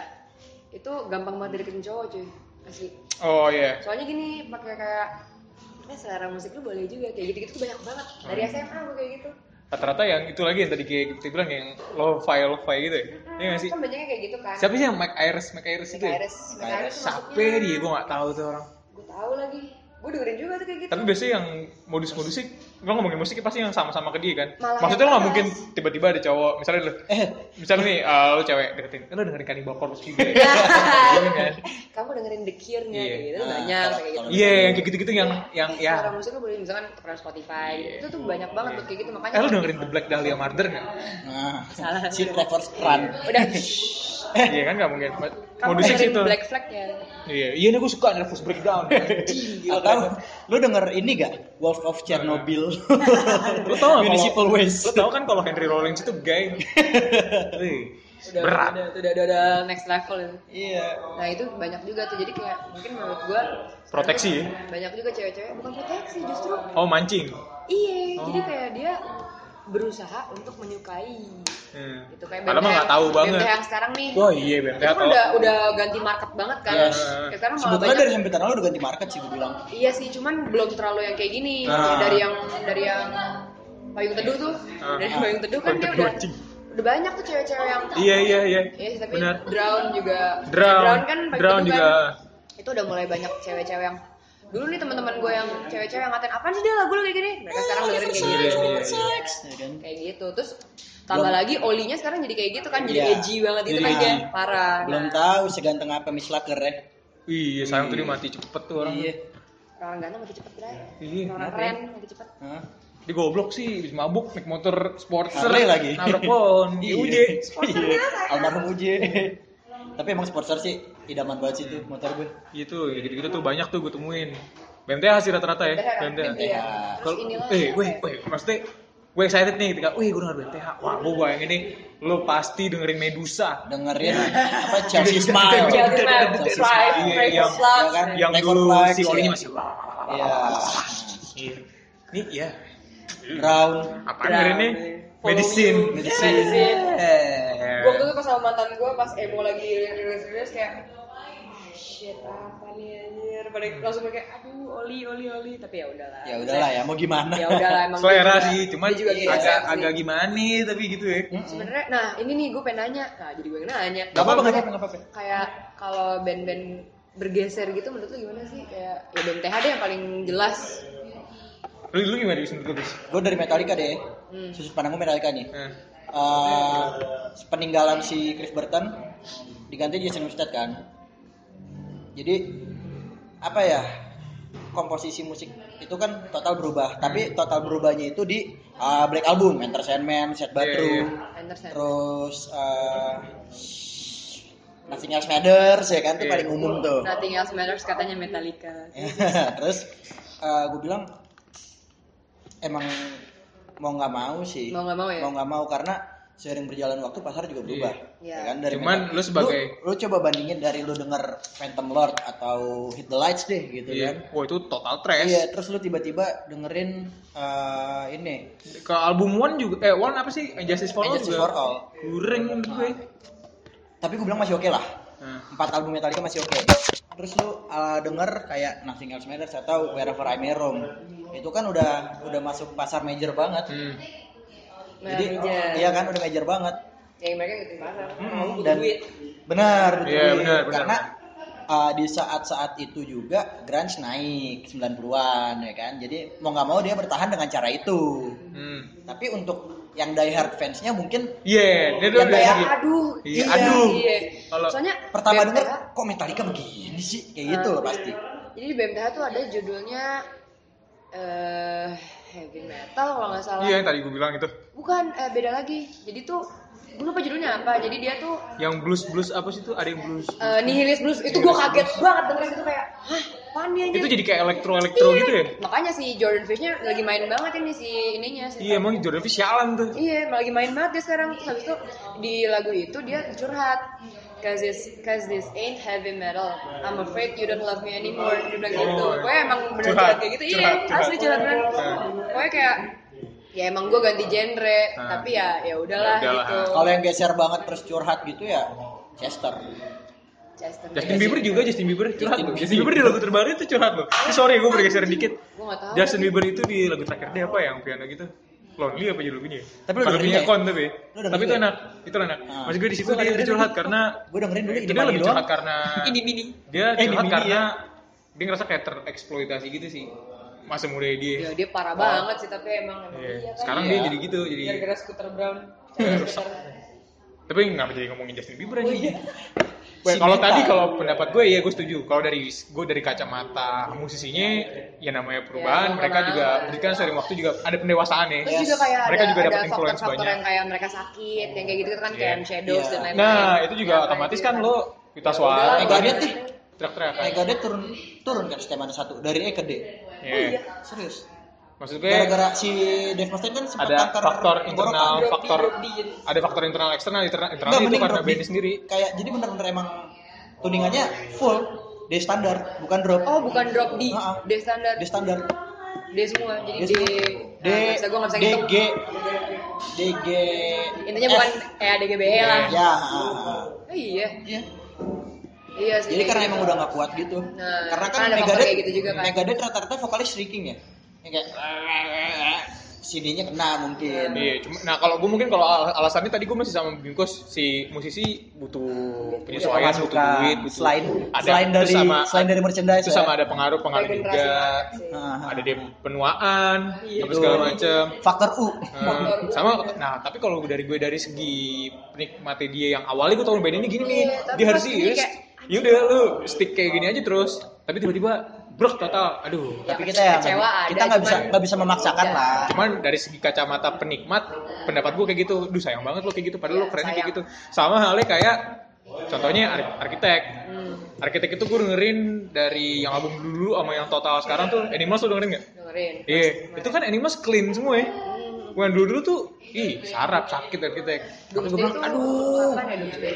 Speaker 4: itu gampang banget deketin cowok cuy, asli.
Speaker 1: Oh iya.
Speaker 4: Soalnya gini, pakai kayak eh selera musik lu boleh juga kayak gitu-gitu tuh banyak banget dari
Speaker 2: Hmm.
Speaker 4: SMA gue kayak gitu.
Speaker 1: Rata-rata yang itu lagi yang tadi kayak kita bilang yang lo-fi lo-fi gitu ya. Iya nggak sih?
Speaker 4: Kan banyaknya kayak gitu kan.
Speaker 1: Siapa sih yang Mike Iris? Mike Iris itu ya?
Speaker 4: Iris, Mike Iris tuh
Speaker 1: Siapa
Speaker 4: masuknya-
Speaker 1: dia? Gue nggak tahu tuh orang.
Speaker 4: Gue tahu lagi. Gue dengerin juga tuh kayak gitu.
Speaker 1: Tapi biasanya yang modus-modusnya lo ngomongin musik pasti yang sama-sama ke dia kan
Speaker 4: Malah
Speaker 1: maksudnya lo
Speaker 4: yang
Speaker 1: nggak mungkin
Speaker 4: keras.
Speaker 1: tiba-tiba ada cowok misalnya lo misalnya nih eh, lo cewek deketin eh, lo dengerin Kani Bakor juga ya Dengerin kan?
Speaker 4: kamu dengerin The Cure nggak
Speaker 1: Iya.
Speaker 4: gitu
Speaker 2: Ah,
Speaker 4: banyak
Speaker 2: kalau-
Speaker 4: kayak gitu
Speaker 2: kalau-
Speaker 1: iya yang kayak gitu-gitu yang yang
Speaker 4: Eh,
Speaker 1: ya
Speaker 4: orang musik lu boleh misalkan tukeran Spotify itu tuh banyak banget tuh kayak gitu makanya
Speaker 1: Iya. eh lo dengerin The Black Dahlia Murder nggak
Speaker 2: Nah,
Speaker 4: Salah.
Speaker 2: si Clover Run.
Speaker 4: udah
Speaker 2: Eh.
Speaker 1: iya kan nggak mungkin
Speaker 4: kamu
Speaker 1: modusnya
Speaker 4: dengerin
Speaker 1: situ
Speaker 4: Black Flag ya
Speaker 1: iya iya nih gue suka nervous breakdown
Speaker 2: Atau lu denger ini gak? Wolf of Chernobyl.
Speaker 1: lo tau nggak
Speaker 2: Municipal
Speaker 1: kalau
Speaker 2: Waste.
Speaker 1: lo tau kan kalau Henry Rollins itu gay Wih,
Speaker 4: udah
Speaker 1: berat
Speaker 4: udah, udah udah udah next level ya.
Speaker 2: Iya.
Speaker 4: nah itu banyak juga tuh jadi kayak mungkin menurut gua
Speaker 1: proteksi ya?
Speaker 4: banyak juga cewek-cewek bukan proteksi justru
Speaker 1: oh mancing
Speaker 4: iya jadi
Speaker 1: Oh.
Speaker 4: kayak dia berusaha untuk menyukai
Speaker 1: Hmm.
Speaker 4: gitu kayak
Speaker 1: Padahal mah
Speaker 4: BMTH
Speaker 1: nggak tahu banget
Speaker 4: BMTH yang sekarang nih
Speaker 1: Wah iya BMTH
Speaker 4: itu kan
Speaker 1: tahu.
Speaker 4: udah udah ganti market banget kan
Speaker 2: Yes.
Speaker 4: Kayak sekarang malah
Speaker 2: Sebetulnya
Speaker 4: banyak
Speaker 2: dari hempetan lu udah ganti market sih gue bilang.
Speaker 4: iya sih cuman belum terlalu yang kayak gini
Speaker 1: Nah.
Speaker 4: dari yang dari yang payung teduh tuh
Speaker 1: Ah.
Speaker 4: dari payung teduh kan dia
Speaker 1: Payung teduh,
Speaker 4: udah
Speaker 1: anjing.
Speaker 4: udah banyak tuh cewek-cewek yang
Speaker 1: Iya iya iya.
Speaker 4: Iya sih, tapi
Speaker 1: Benar.
Speaker 4: drown juga.
Speaker 1: Drown.
Speaker 4: kan pagi
Speaker 1: Drown
Speaker 4: teduh
Speaker 1: juga.
Speaker 4: Kan, itu udah mulai banyak cewek-cewek yang dulu nih teman-teman gue yang cewek-cewek yang ngatain apaan sih dia lagu lu kayak gini. Mereka sekarang dengerin kayak
Speaker 1: Iya,
Speaker 4: gitu.
Speaker 1: iya, iya.
Speaker 2: Ya kan?
Speaker 4: Kayak gitu. Terus tambah
Speaker 2: Belum-
Speaker 4: lagi olinya sekarang jadi kayak gitu kan jadi
Speaker 2: Iya.
Speaker 4: edgy banget gitu
Speaker 2: Jadi
Speaker 4: kan dia.
Speaker 2: edgy.
Speaker 4: Parah.
Speaker 2: Belum
Speaker 4: Nah,
Speaker 2: tahu seganteng apa Miss Laker ya.
Speaker 1: Iya sayang tuh dia mati cepet tuh orang.
Speaker 2: Iya.
Speaker 4: Orang ganteng makin cepet kan.
Speaker 1: Iya,
Speaker 4: Orang
Speaker 1: kenapa
Speaker 4: keren makin cepet.
Speaker 2: Hah?
Speaker 1: Dia goblok sih, habis mabuk naik motor sportster
Speaker 2: Harley lagi.
Speaker 1: Nabrak pohon. Iya uje.
Speaker 2: Iya. Almarhum Uje. Tapi emang sponsor sih idaman banget sih tuh motor gue.
Speaker 1: Gitu, ya gitu-gitu tuh banyak tuh gue temuin. BMTH sih rata-rata ya,
Speaker 4: Beneran,
Speaker 1: BMTH.
Speaker 4: iya. Terus Iya,
Speaker 1: Kalau
Speaker 4: inilah.
Speaker 1: eh weh weh maksudnya gue excited nih ketika wih gue denger BMTH. Wah, gue bayangin nih lo pasti dengerin Medusa.
Speaker 2: Dengerin apa Chelsea
Speaker 1: Iya.
Speaker 2: Smile.
Speaker 1: Chelsea
Speaker 4: Smile,
Speaker 2: Chelsea
Speaker 4: Smile,
Speaker 2: Smile.
Speaker 1: Breakfast
Speaker 2: Iya,
Speaker 4: Club.
Speaker 2: kan?
Speaker 1: Yang
Speaker 2: Black
Speaker 1: dulu
Speaker 2: Flag,
Speaker 1: si
Speaker 2: iya.
Speaker 1: Olinya masih wah.
Speaker 2: Iya.
Speaker 1: Iya. Nih ya.
Speaker 2: Brown.
Speaker 1: Apa dengerin nih? Medicine.
Speaker 2: Medicine.
Speaker 4: Medicine.
Speaker 1: Eh.
Speaker 4: Gue waktu itu pas sama mantan gue pas emo lagi rilis-rilis kayak "Ah, shit apa nih anjir pada langsung kayak aduh oli oli oli tapi ya udahlah
Speaker 2: Ya udahlah ya mau gimana?
Speaker 4: ya udahlah emang
Speaker 1: selera
Speaker 4: dia juga-
Speaker 1: sih cuma
Speaker 4: dia juga gitu
Speaker 1: agak
Speaker 4: sih.
Speaker 1: agak gimana nih tapi gitu ya
Speaker 4: sebenarnya nah ini nih gue pengen nanya nah jadi gue yang nanya
Speaker 2: Gak apa-apa, gak apa-apa, gak apa-apa.
Speaker 4: kayak kalau band-band bergeser gitu menurut lu gimana sih kayak ya band TH deh yang paling jelas
Speaker 1: lu lu gimana di menurut lu Bis?
Speaker 2: Gue dari Metallica deh.
Speaker 4: Hmm.
Speaker 2: Sudut pandang gue Metallica nih.
Speaker 1: Nah,
Speaker 2: Eh, peninggalan si Chris Burton diganti Jason Newsted kan. Jadi apa ya komposisi musik itu kan total berubah. Tapi total berubahnya itu di eh, Black Album, Enter Sandman, Set
Speaker 1: Iya,
Speaker 2: Bathroom,
Speaker 4: Enter Sandman.
Speaker 2: terus eh Nothing Else Matters ya kan itu
Speaker 1: Iya.
Speaker 2: paling umum tuh.
Speaker 4: Nothing Else Matters katanya Metallica
Speaker 2: terus gue bilang emang mau nggak mau sih
Speaker 4: Mau nggak mau ya?
Speaker 2: mau nggak mau karena sering berjalan waktu pasar juga berubah
Speaker 4: Iya.
Speaker 2: ya kan dari
Speaker 1: Cuman
Speaker 2: metal-
Speaker 1: lu sebagai-
Speaker 2: lu, lu coba bandingin dari lu denger Phantom Lord atau Hit the Lights deh gitu kan
Speaker 1: iya. Wah itu total trash.
Speaker 2: iya terus lu tiba-tiba dengerin eh, ini
Speaker 1: Ke album One juga, eh One apa sih? Justice for All
Speaker 2: Justice
Speaker 1: juga.
Speaker 2: for All.
Speaker 1: Kuring gue.
Speaker 2: tapi gue bilang masih oke lah
Speaker 1: Nah,
Speaker 2: empat album Metallica masih oke terus lu uh, denger kayak Nothing Else Matters atau Wherever I May Roam itu kan udah udah masuk pasar major banget
Speaker 1: hmm.
Speaker 2: Jadi
Speaker 4: Nah, Major.
Speaker 2: iya kan udah major banget.
Speaker 4: yang mereka gitu ngikutin pasar mau
Speaker 2: Mm,
Speaker 4: butuh
Speaker 2: dan
Speaker 4: duit
Speaker 2: benar butuh
Speaker 1: Iya,
Speaker 2: duit.
Speaker 1: benar, benar.
Speaker 2: karena uh, di saat-saat itu juga grunge naik 90-an ya kan. Jadi mau nggak mau dia bertahan dengan cara itu.
Speaker 1: Hmm.
Speaker 2: Tapi untuk yang die hard fansnya mungkin
Speaker 1: Iya, dia tuh
Speaker 2: Yang
Speaker 1: udah
Speaker 2: kayak
Speaker 1: segi-
Speaker 4: Ya, aduh
Speaker 1: Iya, aduh.
Speaker 4: iya.
Speaker 1: Kalau-
Speaker 4: soalnya
Speaker 2: pertama
Speaker 4: BMTH
Speaker 2: denger kok Metallica begini sih kayak gitu loh pasti.
Speaker 4: jadi di BMTH tuh ada judulnya eh heavy metal kalau nggak salah
Speaker 1: Iya, yang tadi gue bilang itu.
Speaker 4: bukan eh, beda lagi jadi tuh gue lupa judulnya apa jadi dia tuh
Speaker 1: Yang blues blues apa sih itu? Ada yang blues.
Speaker 4: eh, nihilis blues itu gue kaget banget dengerin itu kayak hah apaan nih anjir?"
Speaker 1: Itu jadi kayak elektro elektro
Speaker 4: Iya.
Speaker 1: gitu ya?
Speaker 4: makanya si Jordan Fishnya lagi main banget ini si ininya si
Speaker 1: Iya, emang Jordan Fish sialan tuh.
Speaker 4: Iya, malah lagi main banget dia sekarang. Terus habis itu di lagu itu dia curhat. Cause this, cause this ain't heavy metal. I'm afraid you don't love me anymore. Dia bilang
Speaker 1: Oh,
Speaker 4: gitu.
Speaker 1: iya.
Speaker 4: Pokoknya emang bener
Speaker 1: Curhat,
Speaker 4: curhat kayak gitu.
Speaker 1: curhat,
Speaker 4: iya,
Speaker 1: curhat.
Speaker 4: asli curhat bener.
Speaker 1: Nah.
Speaker 4: Pokoknya kayak ya emang gue ganti genre,
Speaker 1: Nah.
Speaker 4: tapi ya ya udahlah
Speaker 1: Ya udahlah.
Speaker 4: gitu.
Speaker 2: Kalau yang geser banget terus curhat gitu ya Chester.
Speaker 4: Justin,
Speaker 1: Justin Bieber juga Justin Bieber curhat
Speaker 2: Justin
Speaker 1: loh. Justin Bieber di lagu terbaru itu curhat loh. Eh, Sorry gue bergeser dikit.
Speaker 4: Gua nggak tahu.
Speaker 1: Justin Bieber itu di lagu terakhir dia apa ya, yang piano gitu. Lonely apa judul lagunya? ya?
Speaker 2: Tapi lu
Speaker 1: Lagu
Speaker 2: dengerin
Speaker 1: punya
Speaker 2: ya?
Speaker 1: kon tapi.
Speaker 2: Lu dengerin
Speaker 1: Tapi itu
Speaker 2: ya?
Speaker 1: enak, itu enak.
Speaker 2: Ah.
Speaker 1: Maksud gue di situ dia, dia curhat karena
Speaker 2: Gue dengerin dulu
Speaker 1: itu
Speaker 2: ini
Speaker 1: dia
Speaker 2: doang.
Speaker 1: lebih curhat kan. karena
Speaker 4: ini mini.
Speaker 1: dia
Speaker 2: Eh, di
Speaker 1: curhat
Speaker 2: mini
Speaker 1: karena dia ngerasa kayak tereksploitasi gitu sih. masa muda dia.
Speaker 4: Ya dia parah banget sih tapi emang emang
Speaker 1: Iya.
Speaker 4: iya kan.
Speaker 1: Sekarang
Speaker 4: Iya.
Speaker 1: dia jadi gitu, jadi
Speaker 4: gara-gara Scooter Brown.
Speaker 1: tapi nggak jadi ngomongin Justin
Speaker 2: Oh,
Speaker 1: Bieber aja.
Speaker 2: iya. Si
Speaker 1: kalau
Speaker 2: Beta.
Speaker 1: tadi kalau pendapat gue ya gue setuju. Kalau dari gue dari kacamata musisinya ya namanya perubahan,
Speaker 4: Ya,
Speaker 1: mereka
Speaker 4: perubahan.
Speaker 1: juga berarti kan sering waktu juga ada pendewasaan ya.
Speaker 2: Iya.
Speaker 4: Terus juga kayak
Speaker 1: mereka
Speaker 4: ada,
Speaker 1: juga dapat
Speaker 4: ada
Speaker 1: influence
Speaker 4: faktor-faktor
Speaker 1: banyak.
Speaker 4: yang kayak mereka sakit, yang kayak gitu kan kayak
Speaker 1: Iya.
Speaker 4: shadows
Speaker 2: Iya.
Speaker 4: dan lain-lain. gitu.
Speaker 1: Nah, itu juga
Speaker 4: Kenapa
Speaker 1: otomatis
Speaker 4: itu?
Speaker 1: kan lo
Speaker 2: Ya,
Speaker 1: Nah, kan kita
Speaker 4: udahlah,
Speaker 1: suara
Speaker 2: Megadeth.
Speaker 1: teriak-teriakan.
Speaker 2: Megadeth turun turun kan stemanya satu dari E ke D.
Speaker 1: Iya.
Speaker 2: Serius.
Speaker 1: Maksud gue
Speaker 2: Gara-gara si Dave Mustaine kan sempat
Speaker 1: ada
Speaker 2: kanker
Speaker 1: faktor
Speaker 2: tenggorokan.
Speaker 1: internal,
Speaker 4: Drop D,
Speaker 1: faktor
Speaker 4: drop D, jadi.
Speaker 1: ada faktor internal eksternal, internal, internal
Speaker 2: Nggak,
Speaker 1: itu
Speaker 2: mending
Speaker 1: karena
Speaker 2: drop D.
Speaker 1: bandnya sendiri.
Speaker 2: Kayak jadi bener-bener emang tuningannya full D standar, bukan drop.
Speaker 4: Oh, bukan drop D,
Speaker 2: Ha-ha.
Speaker 4: D standar.
Speaker 2: D standar.
Speaker 4: D semua. Jadi
Speaker 2: D
Speaker 4: D.
Speaker 2: semua. D
Speaker 4: Nah, nggak bisa gue nggak bisa
Speaker 2: D
Speaker 4: ngitung.
Speaker 2: G D G
Speaker 4: Intinya
Speaker 2: F.
Speaker 4: bukan kayak DGBE E lah.
Speaker 2: ya ah,
Speaker 4: Oh, iya.
Speaker 2: iya
Speaker 4: Iya sih.
Speaker 2: jadi karena
Speaker 4: gitu.
Speaker 2: emang udah nggak kuat gitu
Speaker 4: Nah,
Speaker 2: karena kan
Speaker 4: kan ada faktor
Speaker 2: Megadeth
Speaker 4: kayak gitu juga kan.
Speaker 2: Megadeth rata-rata vokalis shrieking ya yang kayak CD-nya kena mungkin
Speaker 1: Iya, cuma nah kalau gue mungkin kalau al- alasannya tadi gue masih sama Bingkos si musisi butuh penyesuaian, butuh
Speaker 2: Iya, masukan.
Speaker 1: duit, butuh
Speaker 2: selain
Speaker 1: ada-
Speaker 2: selain
Speaker 1: terus
Speaker 2: dari
Speaker 1: sama-
Speaker 2: selain dari merchandise
Speaker 1: itu
Speaker 2: ya.
Speaker 1: sama ada pengaruh pengaruh
Speaker 4: Kayak
Speaker 1: juga,
Speaker 4: generasi banget sih.
Speaker 2: Ah,
Speaker 1: ada dia penuaan, apa
Speaker 4: Iya.
Speaker 2: Betul.
Speaker 1: segala macem.
Speaker 2: faktor U
Speaker 1: Eh, sama nah tapi kalau dari gue dari segi penikmati dia yang awalnya gue tau band ini gini nih
Speaker 4: Iya, tapi
Speaker 1: dia harus
Speaker 4: pas ini
Speaker 1: serius
Speaker 4: kayak,
Speaker 1: yaudah lu stick kayak gini aja terus tapi tiba-tiba brok total aduh
Speaker 2: tapi kita ya
Speaker 4: kecewa
Speaker 2: kita
Speaker 4: ada,
Speaker 2: nggak bisa
Speaker 4: cuman-
Speaker 2: nggak bisa memaksakan
Speaker 4: Iya.
Speaker 2: lah
Speaker 1: cuman dari segi kacamata penikmat pendapat gue kayak gitu duh sayang banget lo kayak gitu padahal lo
Speaker 4: Iya,
Speaker 1: kerennya kayak
Speaker 4: sayang.
Speaker 1: gitu sama halnya kayak contohnya ar- arsitek
Speaker 4: Hmm,
Speaker 1: arsitek itu gue dengerin dari yang album dulu sama yang total sekarang tuh Animals lo dengerin gak?
Speaker 4: dengerin.
Speaker 1: iya itu kan Animals clean semua ya Bukan dulu dulu tuh ih sarap sakit arsitek tapi gue
Speaker 4: Doomsday
Speaker 1: bilang
Speaker 4: itu
Speaker 1: aduh
Speaker 4: kapan ya Doomsday?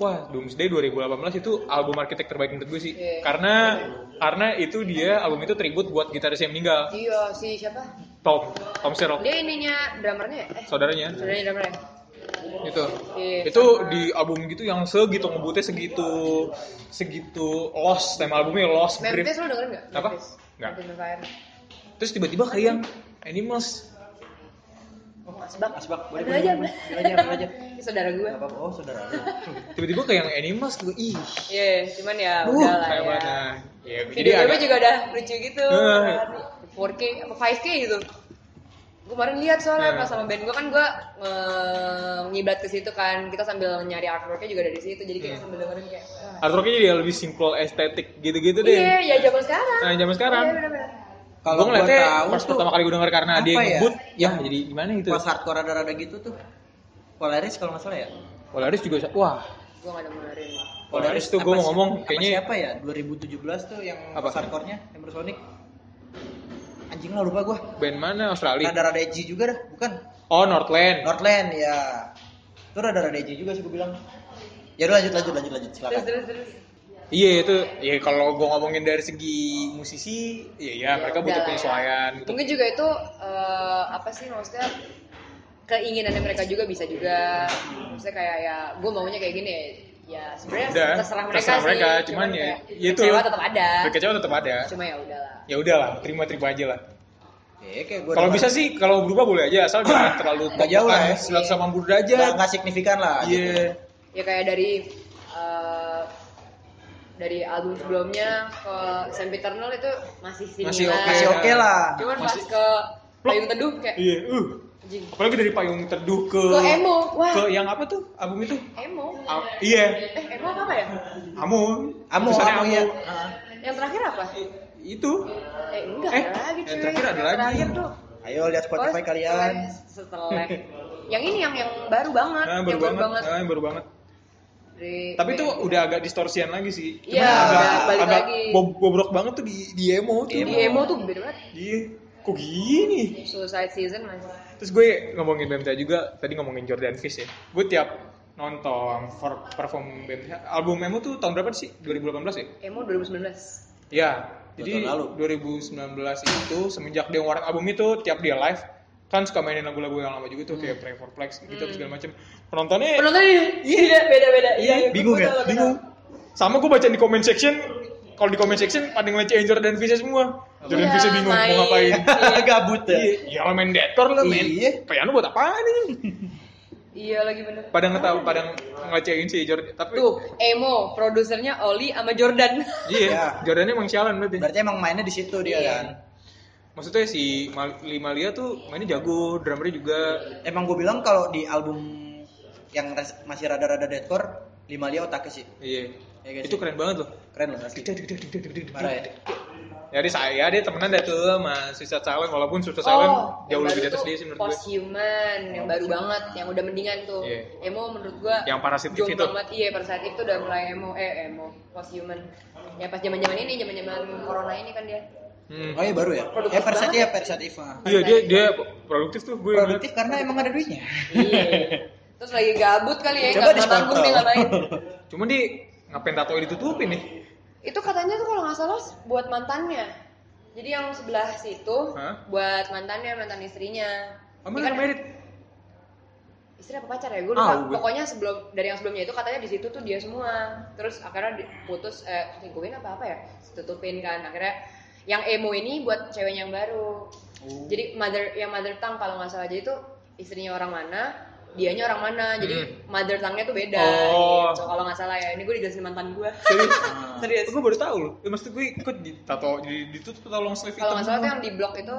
Speaker 1: wah Doomsday 2018 itu album arsitek terbaik menurut gue sih
Speaker 4: Iya.
Speaker 1: karena karena itu dia album itu tribut buat gitaris yang meninggal
Speaker 4: Iya, si siapa?
Speaker 1: Tom Tom Serok
Speaker 4: Dia ininya dramernya eh
Speaker 1: saudaranya
Speaker 4: saudaranya dramernya.
Speaker 1: gitu
Speaker 4: Iya,
Speaker 1: itu
Speaker 4: sama.
Speaker 1: di album gitu yang segitu ngebutnya segitu segitu lost tema albumnya lost grief
Speaker 4: Memphis lo dengerin nggak?
Speaker 1: Apa?
Speaker 4: Memphis.
Speaker 1: Nggak.
Speaker 4: Memphis Vampire.
Speaker 1: terus tiba-tiba kayak yang animals
Speaker 4: Asbak.
Speaker 2: Asbak, boleh,
Speaker 4: Ambil aja,
Speaker 2: boleh,
Speaker 4: ambil.
Speaker 2: boleh. Ambil aja, ambil aja.
Speaker 4: Ini saudara gue.
Speaker 2: Nggak apa-apa. oh saudara lu.
Speaker 1: tiba-tiba kayak yang animals gitu ih
Speaker 4: Iya, cuman ya
Speaker 2: Uh,
Speaker 4: udah lah
Speaker 1: kayak
Speaker 4: ya.
Speaker 1: mana ya jadi
Speaker 4: Video
Speaker 1: agak
Speaker 4: gue juga udah lucu gitu.
Speaker 1: Eh.
Speaker 4: 4K apa 5K gitu. Gue kemarin lihat soalnya
Speaker 1: Eh.
Speaker 4: pas sama band gue kan gue eh, ngiblat ke situ kan. Kita sambil nyari artworknya juga dari situ. Jadi
Speaker 1: Hmm.
Speaker 4: kayak sambil dengerin kayak wah.
Speaker 1: artworknya jadi lebih simple estetik gitu-gitu deh
Speaker 4: Iya, ya zaman sekarang.
Speaker 1: nah zaman sekarang
Speaker 4: Iya, bener-bener.
Speaker 1: kalau
Speaker 2: kalau
Speaker 1: gue
Speaker 2: gua
Speaker 1: ngeliatnya
Speaker 2: tahu
Speaker 1: pas
Speaker 2: tuh,
Speaker 1: pertama kali gue denger karena
Speaker 2: apa
Speaker 1: dia
Speaker 2: ya?
Speaker 1: ngebut ya
Speaker 2: Yang-
Speaker 1: jadi gimana gitu
Speaker 2: pas hardcore rada-rada gitu tuh Polaris kalau nggak salah ya
Speaker 1: Polaris juga wah
Speaker 4: Gue gak dengerin.
Speaker 1: Polaris tuh gue
Speaker 2: apa
Speaker 1: mau
Speaker 2: sih-
Speaker 1: ngomong
Speaker 2: apa
Speaker 1: kayaknya
Speaker 2: siapa ya 2017 tuh yang
Speaker 1: Apa?
Speaker 2: pas hardcore-nya Hammersonic anjing lah lupa gua
Speaker 1: band mana Australia
Speaker 2: rada-rada edgy juga dah bukan
Speaker 1: oh Northland
Speaker 2: Northland ya itu rada-rada edgy juga sih gua bilang ya udah lanjut lanjut lanjut lanjut
Speaker 4: Terus
Speaker 2: silakan
Speaker 4: terus terus.
Speaker 1: Iya itu, ya kalau gue ngomongin dari segi musisi, ya ya mereka
Speaker 4: Udah
Speaker 1: butuh
Speaker 4: lah ya.
Speaker 1: penyesuaian. gitu. butuh-
Speaker 4: Mungkin juga itu eh, apa sih maksudnya keinginannya mereka juga bisa juga. Maksudnya kayak ya gue maunya kayak gini ya. Ya sebenarnya
Speaker 1: Udah,
Speaker 4: terserah mereka
Speaker 1: terserah
Speaker 4: sih.
Speaker 1: mereka, cuman ya,
Speaker 4: kayak
Speaker 1: ya itu.
Speaker 4: kecewa tetap ada.
Speaker 1: Kecewa tetap ada.
Speaker 4: Cuma ya udahlah.
Speaker 1: Ya udahlah, terima-terima aja lah.
Speaker 2: ya, kayak gua
Speaker 1: Kalau
Speaker 2: dengar.
Speaker 1: bisa sih, kalau berubah boleh aja, asal jangan terlalu
Speaker 2: Nggak jauh lah ya.
Speaker 1: 180
Speaker 2: nggak
Speaker 1: derajat.
Speaker 2: nggak signifikan lah gitu.
Speaker 1: Iya.
Speaker 4: Ya kayak dari eh, dari album sebelumnya ke Sempiternal itu masih similar.
Speaker 1: Masih oke.
Speaker 2: masih oke lah
Speaker 4: Cuman
Speaker 1: Masih-
Speaker 4: pas ke Payung Teduh kayak
Speaker 1: Iya. Uh.
Speaker 4: anjing.
Speaker 1: Apalagi dari payung teduh ke
Speaker 4: Ke emo, wah.
Speaker 1: ke yang apa tuh album itu?
Speaker 4: Emo.
Speaker 1: A- iya.
Speaker 4: Eh, emo apa ya?
Speaker 1: Amun.
Speaker 2: Amo,
Speaker 1: Tulisannya
Speaker 2: amo ya.
Speaker 4: Yang terakhir apa?
Speaker 1: Itu.
Speaker 4: Eh, enggak
Speaker 1: Eh,
Speaker 4: ada lagi
Speaker 1: yang
Speaker 4: cuy.
Speaker 1: terakhir ada lagi.
Speaker 4: terakhir tuh.
Speaker 2: Ayo lihat Spotify
Speaker 4: Oh,
Speaker 2: kalian.
Speaker 4: Setelah. setelah. yang ini yang yang baru banget, Iya.
Speaker 1: Nah,
Speaker 4: yang
Speaker 1: baru banget. Nah, baru banget.
Speaker 4: Dari-
Speaker 1: Tapi itu
Speaker 4: dari-
Speaker 1: udah agak distorsian lagi sih. Cuman
Speaker 4: Iya,
Speaker 1: agak,
Speaker 4: udah balik
Speaker 1: agak
Speaker 4: lagi.
Speaker 1: bob- bobrok banget tuh di di emo tuh.
Speaker 4: di emo tuh beda banget.
Speaker 1: Iya. Kok gini?
Speaker 4: Suicide Season masih.
Speaker 1: Terus gue ngomongin BMTA juga, tadi ngomongin Jordan Fish ya. Gue tiap nonton for- perform BMTA, album emo tuh tahun berapa sih? 2018 ya?
Speaker 4: Emo 2019.
Speaker 1: Ya.
Speaker 2: Dua
Speaker 1: Jadi
Speaker 2: tahun lalu.
Speaker 1: 2019 itu semenjak dia ngeluarin album itu tiap dia live kan suka mainin lagu-lagu yang lama juga tuh kayak
Speaker 2: Hmm.
Speaker 1: Pray for Flex gitu terus segala macam. Penontonnya
Speaker 4: Penontonnya iya beda-beda. Iya, iya,
Speaker 1: Eh. bingung
Speaker 4: gua
Speaker 1: ya?
Speaker 4: tau, gua tau.
Speaker 1: Bingung. Sama gue baca di comment section, kalau di comment section pada ngelecehin Jordan Fisher semua. Jordan
Speaker 4: Iya,
Speaker 1: Fisher bingung mau
Speaker 4: main.
Speaker 1: ngapain.
Speaker 2: Gabut ya.
Speaker 1: Iya, lo main deathcore lo main.
Speaker 2: Iya.
Speaker 1: Piano buat apaan ini?
Speaker 4: Iya lagi bener.
Speaker 1: Pada ngetahu, pada ngelecehin si Jordan. Tapi
Speaker 4: Tuh, emo produsernya Oli sama Jordan.
Speaker 1: Iya,
Speaker 2: Ya.
Speaker 1: Jordan emang sialan berarti. Iya.
Speaker 2: Berarti emang mainnya di situ dia kan.
Speaker 1: maksudnya si Mal- Limalia tuh mainnya jago, drummernya juga
Speaker 2: Emang gue bilang kalau di album yang res- masih rada-rada deadcore, lima lia otaknya sih.
Speaker 1: iya.
Speaker 2: Iya nggak
Speaker 1: itu
Speaker 2: sih?
Speaker 1: keren banget loh.
Speaker 2: Keren loh asli. Parah ya.
Speaker 1: Jadi saya ya, dia temenan dah tuh sama Suicide Silent walaupun Suicide Silent
Speaker 4: Oh,
Speaker 1: jauh lebih di atas dia sih menurut gue. Oh,
Speaker 4: Posthuman yang baru banget, yang udah mendingan tuh.
Speaker 1: Iya.
Speaker 4: Emo menurut gua
Speaker 1: Yang parasitif
Speaker 4: jong
Speaker 1: itu.
Speaker 4: banget. Iya, parasitif itu udah mulai emo eh emo posthuman. Ya pas zaman-zaman ini, zaman-zaman corona ini kan dia.
Speaker 1: Hmm.
Speaker 2: Oh iya baru ya.
Speaker 4: Produktif
Speaker 2: Ya Versace
Speaker 4: banget.
Speaker 2: ya Versace Eva.
Speaker 1: Iya dia dia produktif tuh gue.
Speaker 2: Produktif karena emang ada duitnya.
Speaker 4: Iya. Terus lagi gabut kali ya,
Speaker 2: Coba
Speaker 4: nggak nggak manggung dia nggak main.
Speaker 1: ngeliat. Cuma dia ngapain tato ditutupin nih?
Speaker 4: Itu katanya tuh kalau nggak salah buat mantannya. Jadi yang sebelah situ
Speaker 1: Hah?
Speaker 4: buat mantannya, mantan istrinya.
Speaker 1: Kamu
Speaker 4: Ini
Speaker 1: kan
Speaker 4: kan
Speaker 1: merit.
Speaker 4: istri apa pacar ya gue
Speaker 1: Ah,
Speaker 4: lupa
Speaker 1: gue.
Speaker 4: pokoknya sebelum dari yang sebelumnya itu katanya di situ tuh dia semua terus akhirnya di- putus eh selingkuhin apa apa ya tutupin kan akhirnya yang emo ini buat ceweknya yang baru
Speaker 1: Oh.
Speaker 4: jadi mother yang mother tongue kalau nggak salah jadi itu istrinya orang mana dianya orang mana jadi mother tongue-nya tuh beda
Speaker 1: Hmm. Oh.
Speaker 4: gitu kalau nggak salah ya ini gue dijelasin mantan gue
Speaker 1: Serius.
Speaker 4: Ah. serius
Speaker 1: Gue baru tahu loh. Ya, maksud gue ikut di tato di ditutup tato long sleeve
Speaker 4: kalau nggak salah tuh
Speaker 1: hitam.
Speaker 4: yang di blok itu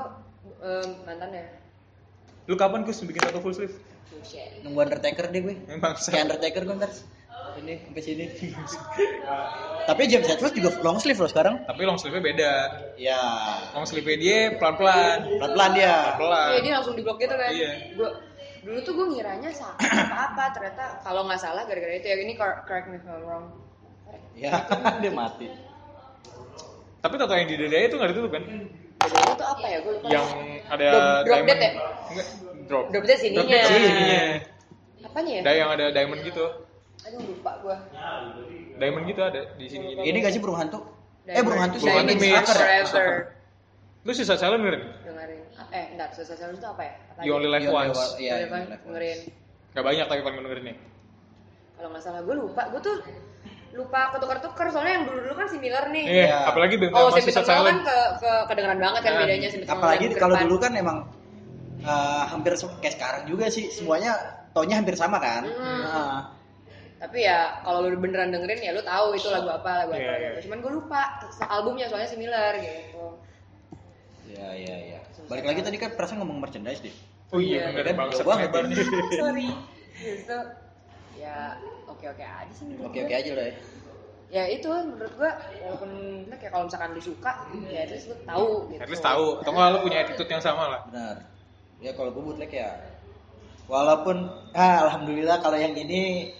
Speaker 4: em, mantannya Oh,
Speaker 1: Lu kapan Gus bikin tato full sleeve?
Speaker 4: Buset.
Speaker 2: Nunggu Undertaker deh gue.
Speaker 1: Emang
Speaker 2: Kayak Undertaker gue ntar. Ini sampai sini. Tapi James Hetfield juga long sleeve loh sekarang.
Speaker 1: Tapi long sleeve-nya beda.
Speaker 2: Ya,
Speaker 1: Long sleeve-nya dia pelan-pelan.
Speaker 2: pelan-pelan dia.
Speaker 4: Iya
Speaker 1: Pelan.
Speaker 4: dia langsung diblok gitu kan.
Speaker 1: Iya.
Speaker 4: Gua dulu tuh gue ngiranya sakit apa apa ternyata kalau nggak salah gara-gara itu ya ini cor- correct me if I'm wrong.
Speaker 2: Ya, dia mati.
Speaker 1: Tapi tato yang di dadanya itu nggak ditutup kan?
Speaker 4: Bedanya tuh apa ya gue lupa.
Speaker 1: Yang ada
Speaker 4: Iya. Drop- drop
Speaker 1: diamond.
Speaker 4: dead ya?
Speaker 1: Enggak, drop.
Speaker 4: Drop dead sininya.
Speaker 1: Drop dead sininya.
Speaker 4: Apanya ya?
Speaker 1: Ada yang ada diamond gitu.
Speaker 4: Aduh lupa gue.
Speaker 1: Diamond gitu ada di sini gini.
Speaker 2: Ini gak sih burung hantu? Eh burung hantu sih.
Speaker 1: Burung
Speaker 2: Ini
Speaker 1: hantu
Speaker 2: James
Speaker 1: Mitch.
Speaker 2: Tucker ya?
Speaker 4: Forever.
Speaker 1: Lu sisa calon kan?
Speaker 4: Dengerin. Eh enggak, susah Silence itu apa ya? Apa
Speaker 1: You only live
Speaker 2: Iya,
Speaker 1: once.
Speaker 2: lewat- Iya,
Speaker 4: Dengerin.
Speaker 2: iya,
Speaker 4: dengerin.
Speaker 1: Gak banyak tapi paling dengerin nih.
Speaker 4: Kalau nggak salah gue lupa. Gue tuh lupa ketukar-tukar soalnya yang dulu-dulu kan similar nih.
Speaker 1: Iya,
Speaker 2: Iya.
Speaker 1: apalagi band
Speaker 4: Oh,
Speaker 1: sama
Speaker 4: Sipit
Speaker 1: sisa
Speaker 4: Temel kan
Speaker 1: calon.
Speaker 4: ke, ke kedengeran banget kan
Speaker 1: Nah,
Speaker 4: bedanya Sipit Temel
Speaker 2: Apalagi
Speaker 4: dan
Speaker 2: kalau
Speaker 4: Gerpan.
Speaker 2: dulu kan emang eh, hampir se- kayak sekarang juga sih semuanya tonnya hampir sama kan. Nah,
Speaker 4: tapi ya kalau lu beneran dengerin ya lu tahu itu lagu apa lagu apa,
Speaker 1: Iya,
Speaker 4: lagu
Speaker 1: iya.
Speaker 4: apa. cuman gue lupa se- albumnya soalnya similar gitu
Speaker 2: Iya iya iya. Balik lagi tadi kan perasaan ngomong merchandise deh.
Speaker 1: Oh iya,
Speaker 4: Iya.
Speaker 1: bener
Speaker 2: Kan
Speaker 1: banget.
Speaker 2: jauh banget ya.
Speaker 1: Lebarnya.
Speaker 4: sorry justru ya oke oke aja sih menurut
Speaker 2: Oke
Speaker 4: gua.
Speaker 2: oke aja lah ya.
Speaker 4: ya itu menurut gua walaupun bener kayak kalau misalkan lu suka ya terus lu tahu gitu
Speaker 1: At least tahu. Atau nggak lu punya attitude yang sama lah.
Speaker 2: Benar. Ya kalau gue bootleg ya. Walaupun ah, alhamdulillah kalau yang ini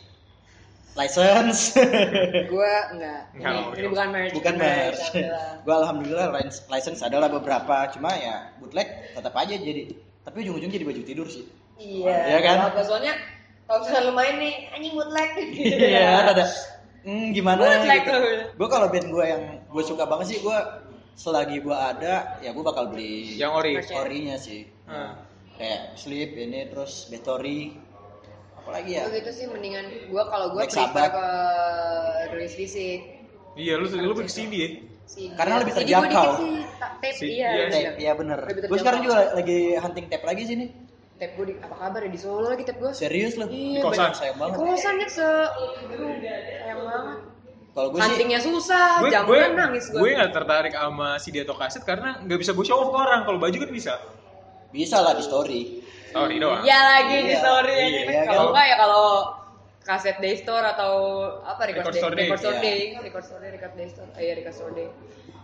Speaker 2: license
Speaker 4: gue enggak ini,
Speaker 1: Nggak, oke.
Speaker 4: ini bukan marriage
Speaker 2: bukan
Speaker 4: merch,
Speaker 2: merch.
Speaker 4: alhamdulillah.
Speaker 2: gue alhamdulillah lins- license adalah beberapa cuma ya bootleg tetap aja jadi tapi ujung-ujung jadi baju tidur sih.
Speaker 4: iya
Speaker 2: Iya kan?
Speaker 4: apa soalnya kalau misalkan lu main nih anjing bootleg
Speaker 2: Iya, ada. Hmm, gimana
Speaker 4: Bootleg
Speaker 2: gitu.
Speaker 4: loh.
Speaker 2: Gue kalau band gue yang gue suka banget sih gue selagi gue ada ya gue bakal beli
Speaker 1: Yang ori.
Speaker 4: Merch.
Speaker 2: orinya sih.
Speaker 1: Ah.
Speaker 2: Kayak Sleep ini terus Betori apalagi ya?
Speaker 4: Gua gitu sih mendingan gua kalau gua
Speaker 2: Black
Speaker 4: prefer
Speaker 2: Sabbath.
Speaker 4: ke rilis fisik
Speaker 1: Iya, lu lu ke CD ya.
Speaker 4: CD.
Speaker 2: Karena lebih
Speaker 4: CD gua
Speaker 2: terjangkau.
Speaker 4: dikit sih, ta- tape
Speaker 1: Si-
Speaker 4: iya
Speaker 1: iya,
Speaker 2: Tape, ya bener.
Speaker 4: Lebih
Speaker 2: Gue sekarang
Speaker 4: terjangkau.
Speaker 2: juga lagi hunting tape lagi sini.
Speaker 4: tape gua di, apa kabar ya di Solo lagi tape gua
Speaker 2: Serius loh.
Speaker 4: Iya, Di
Speaker 1: kosan.
Speaker 2: banyak, sayang banget.
Speaker 4: kosan ya se Aduh, sayang banget
Speaker 2: Kalau gue sih
Speaker 4: huntingnya susah
Speaker 1: Gue
Speaker 4: jam
Speaker 1: gue
Speaker 4: Ah, nangis gua
Speaker 1: gue nggak tertarik sama CD atau kaset karena nggak bisa gue show off ke orang. Kalau baju kan bisa.
Speaker 2: bisa lah di story.
Speaker 1: Sorry doang.
Speaker 4: iya lagi di
Speaker 2: Iya,
Speaker 4: story
Speaker 1: iya,
Speaker 4: anjing.
Speaker 2: iya,
Speaker 4: kalau
Speaker 2: kan?
Speaker 4: enggak ya kalau kaset day store atau apa record,
Speaker 1: Record
Speaker 4: day,
Speaker 1: store day,
Speaker 4: record store
Speaker 2: iya.
Speaker 4: day record store day record day store eh iya, record store day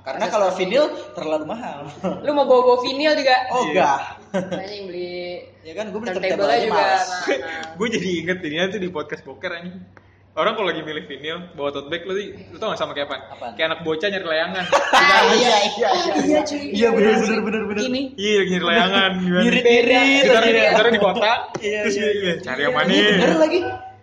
Speaker 2: Karena
Speaker 4: Kaset
Speaker 2: kalau
Speaker 4: store day.
Speaker 2: vinyl terlalu mahal.
Speaker 4: lu mau bawa bawa vinyl juga
Speaker 2: Oh enggak.
Speaker 4: anjing beli
Speaker 2: Ya kan gue beli turntable
Speaker 4: turntable
Speaker 2: aja
Speaker 4: juga
Speaker 2: males.
Speaker 4: mahal.
Speaker 1: gue jadi inget ini tuh di podcast boker anjing orang kalau lagi milih vinyl bawa tote bag lu, lu tau gak sama kayak apaan?
Speaker 2: Apaan?
Speaker 1: kayak anak bocah nyari layangan
Speaker 4: Ah,
Speaker 2: Iya iya iya.
Speaker 4: cuy.
Speaker 2: Iya benar benar benar benar.
Speaker 4: Gini.
Speaker 1: iya lagi nyari layangan gimana?
Speaker 2: Ngirit-ngirit
Speaker 1: ditaruh
Speaker 2: aja.
Speaker 1: ditaruh di kotak
Speaker 2: Iya,
Speaker 1: terus
Speaker 2: iya,
Speaker 1: dia- iya, cari yang mana
Speaker 2: Iya bener lagi.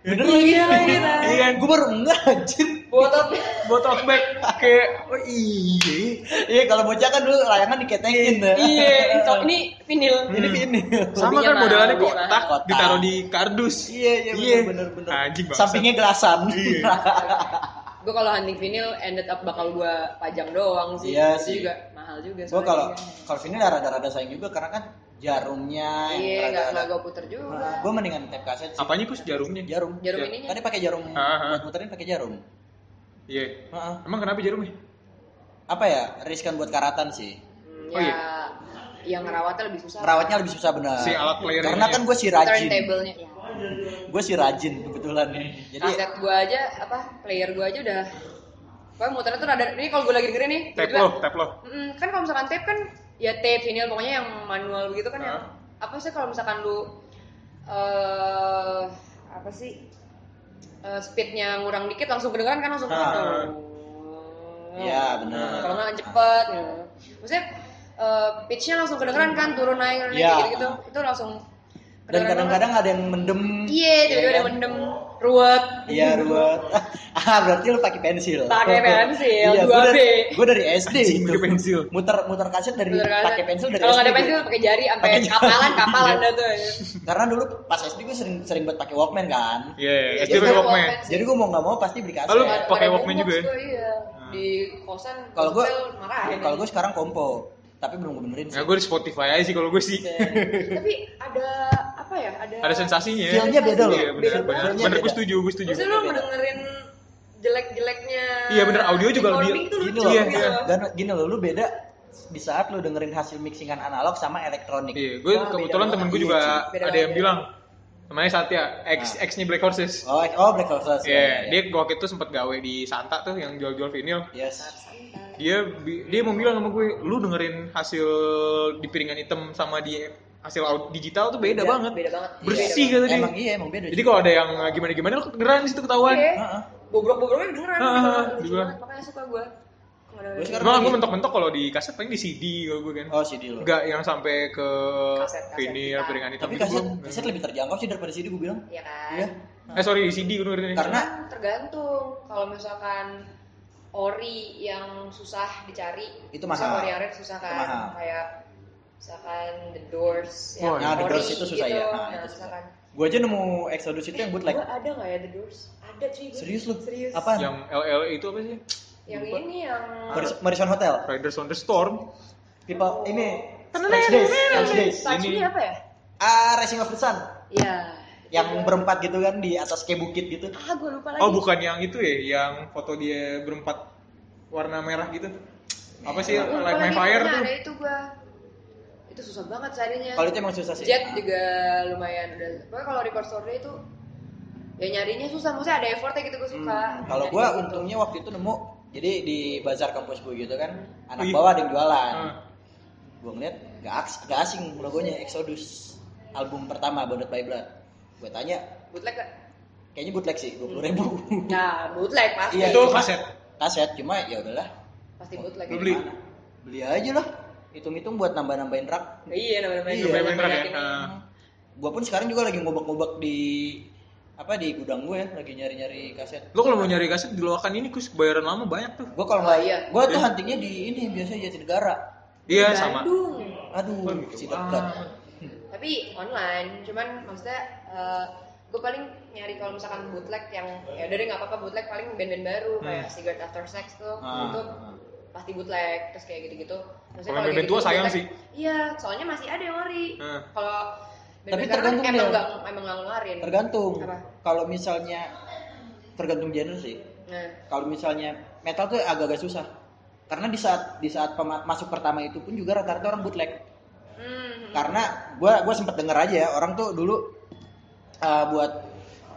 Speaker 2: Bener lagi.
Speaker 4: Iya, iya.
Speaker 2: Iya, gue baru enggak anjir.
Speaker 4: Botot.
Speaker 1: bawa tote bag kayak oh iya
Speaker 2: Iya, kalau bocah kan dulu layangan diketengin.
Speaker 4: Iya, cok ini vinil.
Speaker 2: Ini vinyl.
Speaker 1: sama
Speaker 4: Hobinya
Speaker 1: kan modelannya
Speaker 4: mahal, hobinya
Speaker 1: kotak
Speaker 2: mahal.
Speaker 1: ditaruh di kardus
Speaker 2: Iya, iya bener bener bener.
Speaker 1: anjing Iya. banget
Speaker 2: Sampingnya gelasan.
Speaker 4: Gue kalau hunting vinil ended up bakal gue pajang doang sih.
Speaker 2: Iya
Speaker 4: Itu
Speaker 2: sih.
Speaker 4: juga mahal juga.
Speaker 2: Gue
Speaker 4: soalnya.
Speaker 2: kalau kalau vinyl rada-rada sayang juga karena kan jarumnya yang
Speaker 4: iya nggak nggak
Speaker 2: Nah, rada-rada. Nah.
Speaker 4: gue puter juga.
Speaker 2: Gue mendingan tape kaset sih.
Speaker 1: apanya kus jarumnya
Speaker 2: Jarum.
Speaker 4: Jarum
Speaker 1: Iya.
Speaker 4: ininya.
Speaker 2: Tadi pakai jarum
Speaker 1: Ah, ah.
Speaker 2: buat muterin pakai jarum.
Speaker 1: iya
Speaker 2: Heeh.
Speaker 1: emang kenapa jarumnya
Speaker 2: Apa ya? Riskan buat karatan sih.
Speaker 4: Hmm,
Speaker 1: Oh,
Speaker 4: ya
Speaker 1: iya.
Speaker 4: yang ngerawatnya lebih susah.
Speaker 2: Merawatnya lebih susah benar.
Speaker 1: Si alat ya. player
Speaker 2: Karena
Speaker 1: ini
Speaker 2: kan gue si rajin.
Speaker 4: Turntable-nya. Ya.
Speaker 2: Gue si rajin kebetulan
Speaker 1: Iya.
Speaker 2: nih. Jadi
Speaker 4: Kaset gue aja apa player gue aja udah Pokoknya muternya tuh rada ini kalau gue lagi dengerin
Speaker 2: Iya,
Speaker 4: nih.
Speaker 1: Tap
Speaker 4: tiba-tiba-
Speaker 1: lo, tap lo.
Speaker 4: Mm, kan kalau misalkan tape kan ya tape vinyl pokoknya yang manual begitu kan yang
Speaker 1: Ah.
Speaker 4: apa sih kalau misalkan lu eh apa sih eh, speednya ngurang dikit langsung kedengeran kan langsung
Speaker 2: Ah.
Speaker 4: kedengeran.
Speaker 2: Iya, benar.
Speaker 4: Kalau nggak cepet, ya. maksudnya eh, pitchnya langsung kedengeran kan turun naik turun naik
Speaker 2: Iya.
Speaker 4: gitu, gitu itu langsung
Speaker 2: dan
Speaker 4: kedengeran
Speaker 2: kadang-kadang ada yang mendem.
Speaker 4: banget. iya tiba-tiba ada
Speaker 2: kan?
Speaker 4: yang mendem ruwet
Speaker 2: Iya ruwet. Ah berarti lu pakai pensil.
Speaker 4: Pakai pensil,
Speaker 2: Iya,
Speaker 4: 2B.
Speaker 2: gua dari, gua dari SD
Speaker 1: Anjing,
Speaker 2: itu.
Speaker 1: pakai pensil.
Speaker 2: Muter muter kaset dari
Speaker 4: Bener kan?
Speaker 2: pakai pensil dari
Speaker 4: kalau nggak ada
Speaker 2: SD.
Speaker 4: pensil pakai jari sampai
Speaker 2: Pakai jari. Iya.
Speaker 4: kapalan kapalan dah tuh ya.
Speaker 2: Karena dulu pas SD gue sering sering buat pakai Walkman kan.
Speaker 1: Iya,
Speaker 2: Jadi
Speaker 1: SD
Speaker 2: gua-
Speaker 1: pakai Walkman.
Speaker 2: Jadi gue mau nggak mau pasti beli kaset.
Speaker 1: Ah, lu
Speaker 4: Ada-
Speaker 1: pakai
Speaker 4: ada
Speaker 1: Walkman juga
Speaker 4: boombox
Speaker 1: ya?
Speaker 4: gua, iya. Di kosan gitu.
Speaker 2: Kalau gue
Speaker 4: marah
Speaker 2: kalau gue sekarang kompo, tapi belum gue benerin
Speaker 1: Nah,
Speaker 2: sih.
Speaker 1: gue di Spotify aja sih kalau gue sih.
Speaker 2: Iya,
Speaker 4: tapi ada apa ya? Ada
Speaker 1: Ada sensasinya.
Speaker 2: Feelnya beda loh.
Speaker 1: Iya, bener,
Speaker 2: Feel-
Speaker 1: bener.
Speaker 2: feelnya
Speaker 1: Bener, gue
Speaker 2: beda.
Speaker 1: setuju, gue setuju.
Speaker 4: Maksudnya lu mendengerin jelek-jeleknya.
Speaker 1: Iya, bener, audio juga lebih-
Speaker 4: recording tuh
Speaker 2: Gini
Speaker 4: lucu
Speaker 2: loh,
Speaker 1: Iya,
Speaker 4: gitu.
Speaker 1: iya.
Speaker 2: dan gini loh, lu beda di saat lu dengerin hasil mixingan analog sama elektronik.
Speaker 1: Iya, gue
Speaker 2: Wah,
Speaker 1: kebetulan
Speaker 2: beda
Speaker 1: temen gue
Speaker 2: banget.
Speaker 1: juga
Speaker 2: Iya, cuy.
Speaker 4: Beda
Speaker 1: ada
Speaker 4: banget,
Speaker 1: yang
Speaker 4: beda.
Speaker 1: bilang namanya Satya, X
Speaker 2: Ah.
Speaker 1: X-nya Black Horses.
Speaker 2: Oh, oh Black Horses.
Speaker 1: Iya, dia waktu itu sempat gawe di Santa tuh yang jual-jual vinyl.
Speaker 2: Yes.
Speaker 1: Dia bi- dia mau bilang sama gue, lu dengerin hasil di piringan hitam sama di hasil out digital tuh beda,
Speaker 2: Beda, Iya,
Speaker 1: banget.
Speaker 4: Beda banget.
Speaker 1: Bersih gitu kata dia.
Speaker 2: Emang iya, emang beda.
Speaker 1: Jadi kalau ada yang "Ah, gimana-gimana lu kedengeran di situ ketahuan.
Speaker 4: Iya.
Speaker 2: Heeh.
Speaker 4: Bobrok-bobroknya dengeran.
Speaker 1: Ah, ah, ah,
Speaker 4: lucu
Speaker 1: kan. juga.
Speaker 4: banget. Makanya suka gue. Kalau ada-
Speaker 2: Gua sekarang
Speaker 1: Emang gue
Speaker 2: lagi-
Speaker 1: mentok-mentok kalau di kaset paling di CD kalau gue kan.
Speaker 2: Oh, CD lo.
Speaker 1: Enggak yang sampai ke
Speaker 4: Kaset, kaset
Speaker 1: vinyl
Speaker 4: kita.
Speaker 1: piringan hitam
Speaker 2: Tapi
Speaker 1: gitu
Speaker 2: kaset,
Speaker 1: belum.
Speaker 2: kaset lebih terjangkau sih daripada CD gue bilang.
Speaker 4: Iya kan?
Speaker 2: Iya.
Speaker 1: Eh sorry di CD gue dengerin.
Speaker 2: Karena
Speaker 4: Kan tergantung kalau misalkan ori yang susah dicari
Speaker 2: Itu
Speaker 4: misalkan
Speaker 2: mahal.
Speaker 4: ori yang rare susah
Speaker 2: Itu
Speaker 4: kan
Speaker 2: mahal.
Speaker 4: kayak misalkan The Doors
Speaker 1: Wah, nah, The
Speaker 2: Doors itu susah ya. Nah, itu susah.
Speaker 4: misalkan
Speaker 2: gue aja nemu Exodus itu yang bootleg.
Speaker 4: Gua ada nggak ya The Doors ada cuy gua.
Speaker 2: Serius lu?
Speaker 4: serius
Speaker 2: Apaan?
Speaker 1: yang LL itu apa sih?
Speaker 4: yang ini yang
Speaker 2: Maris- Marison Hotel.
Speaker 1: Riders on the Storm.
Speaker 2: People ini Strange Days, Strange Days.
Speaker 4: ini apa ya
Speaker 2: Ah, Racing of the Sun.
Speaker 4: ya
Speaker 2: Yang berempat gitu kan di atas kayak bukit gitu.
Speaker 4: ah gue lupa lagi
Speaker 1: Oh bukan yang itu ya, yang foto dia berempat warna merah gitu. Apa sih
Speaker 4: Gua lupa
Speaker 1: Light My Fire
Speaker 4: lagi, pokoknya
Speaker 1: tuh?
Speaker 4: ada itu gue itu susah banget carinya
Speaker 2: Kalau itu emang susah sih.
Speaker 4: Jet juga lumayan udah. Pokoknya kalau record store itu ya nyarinya susah, maksudnya ada effortnya gitu gue suka.
Speaker 2: Hmm, kalau
Speaker 4: Nyari
Speaker 2: gue
Speaker 4: gitu.
Speaker 2: untungnya waktu itu nemu jadi di bazar kampus gue gitu kan anak
Speaker 1: Wih.
Speaker 2: bawah ada yang jualan
Speaker 1: Ah.
Speaker 2: gue ngeliat gak, aks- gak asing logonya Exodus album pertama Bounded by Blood gue tanya
Speaker 4: bootleg gak?
Speaker 2: kayaknya bootleg sih dua ribu
Speaker 4: Nah, bootleg pasti.
Speaker 2: Iya,
Speaker 1: Ah, itu
Speaker 2: cuma-
Speaker 1: kaset.
Speaker 2: kaset cuma ya udahlah
Speaker 4: Pasti bootleg.
Speaker 1: Lu beli?
Speaker 2: gimana? beli aja lah hitung-hitung buat nambah-nambahin rak
Speaker 4: Nah, Iya, namanya
Speaker 2: Iya,
Speaker 1: Lebih merah ya.
Speaker 4: banyak ini.
Speaker 1: Nah,
Speaker 2: gue pun sekarang juga lagi ngobak-ngobak di apa di gudang gue lagi nyari-nyari kaset
Speaker 1: Lo kalau mau nyari kaset di loakan ini kus bayaran lama banyak tuh.
Speaker 2: gue kalau
Speaker 4: Oh, iya.
Speaker 2: nggak gue tuh huntingnya di ini biasanya jadi negara
Speaker 1: Iya sama.
Speaker 4: Bandung.
Speaker 2: aduh
Speaker 1: gitu.
Speaker 2: si
Speaker 1: Ah.
Speaker 2: dekat
Speaker 4: Tapi online, cuman maksudnya gue paling nyari kalau misalkan bootleg yang ya udah deh nggak apa-apa bootleg paling band-band baru
Speaker 1: Hmm.
Speaker 4: kayak Cigarette After Sex tuh
Speaker 2: Ah.
Speaker 4: itu pasti bootleg terus kayak gitu-gitu. Maksudnya
Speaker 1: Kalau band-band
Speaker 4: kayak gitu-gitu
Speaker 1: tua sayang
Speaker 4: bootleg-
Speaker 1: sih.
Speaker 4: Iya, soalnya masih ada yang ori.
Speaker 1: Ah.
Speaker 4: Kalau band-band
Speaker 2: Tapi
Speaker 4: sekarang
Speaker 2: tergantung
Speaker 4: emang
Speaker 2: dia.
Speaker 4: nggak emang nggak ngeluarin.
Speaker 2: Tergantung.
Speaker 4: Apa?
Speaker 2: Kalau misalnya tergantung genre sih.
Speaker 4: Nah,
Speaker 2: Kalau misalnya metal tuh agak-agak susah. Karena di saat di saat pema- masuk pertama itu pun juga rata-rata orang bootleg.
Speaker 4: hmm,
Speaker 2: Karena gua gua sempet denger aja ya, orang tuh dulu uh, buat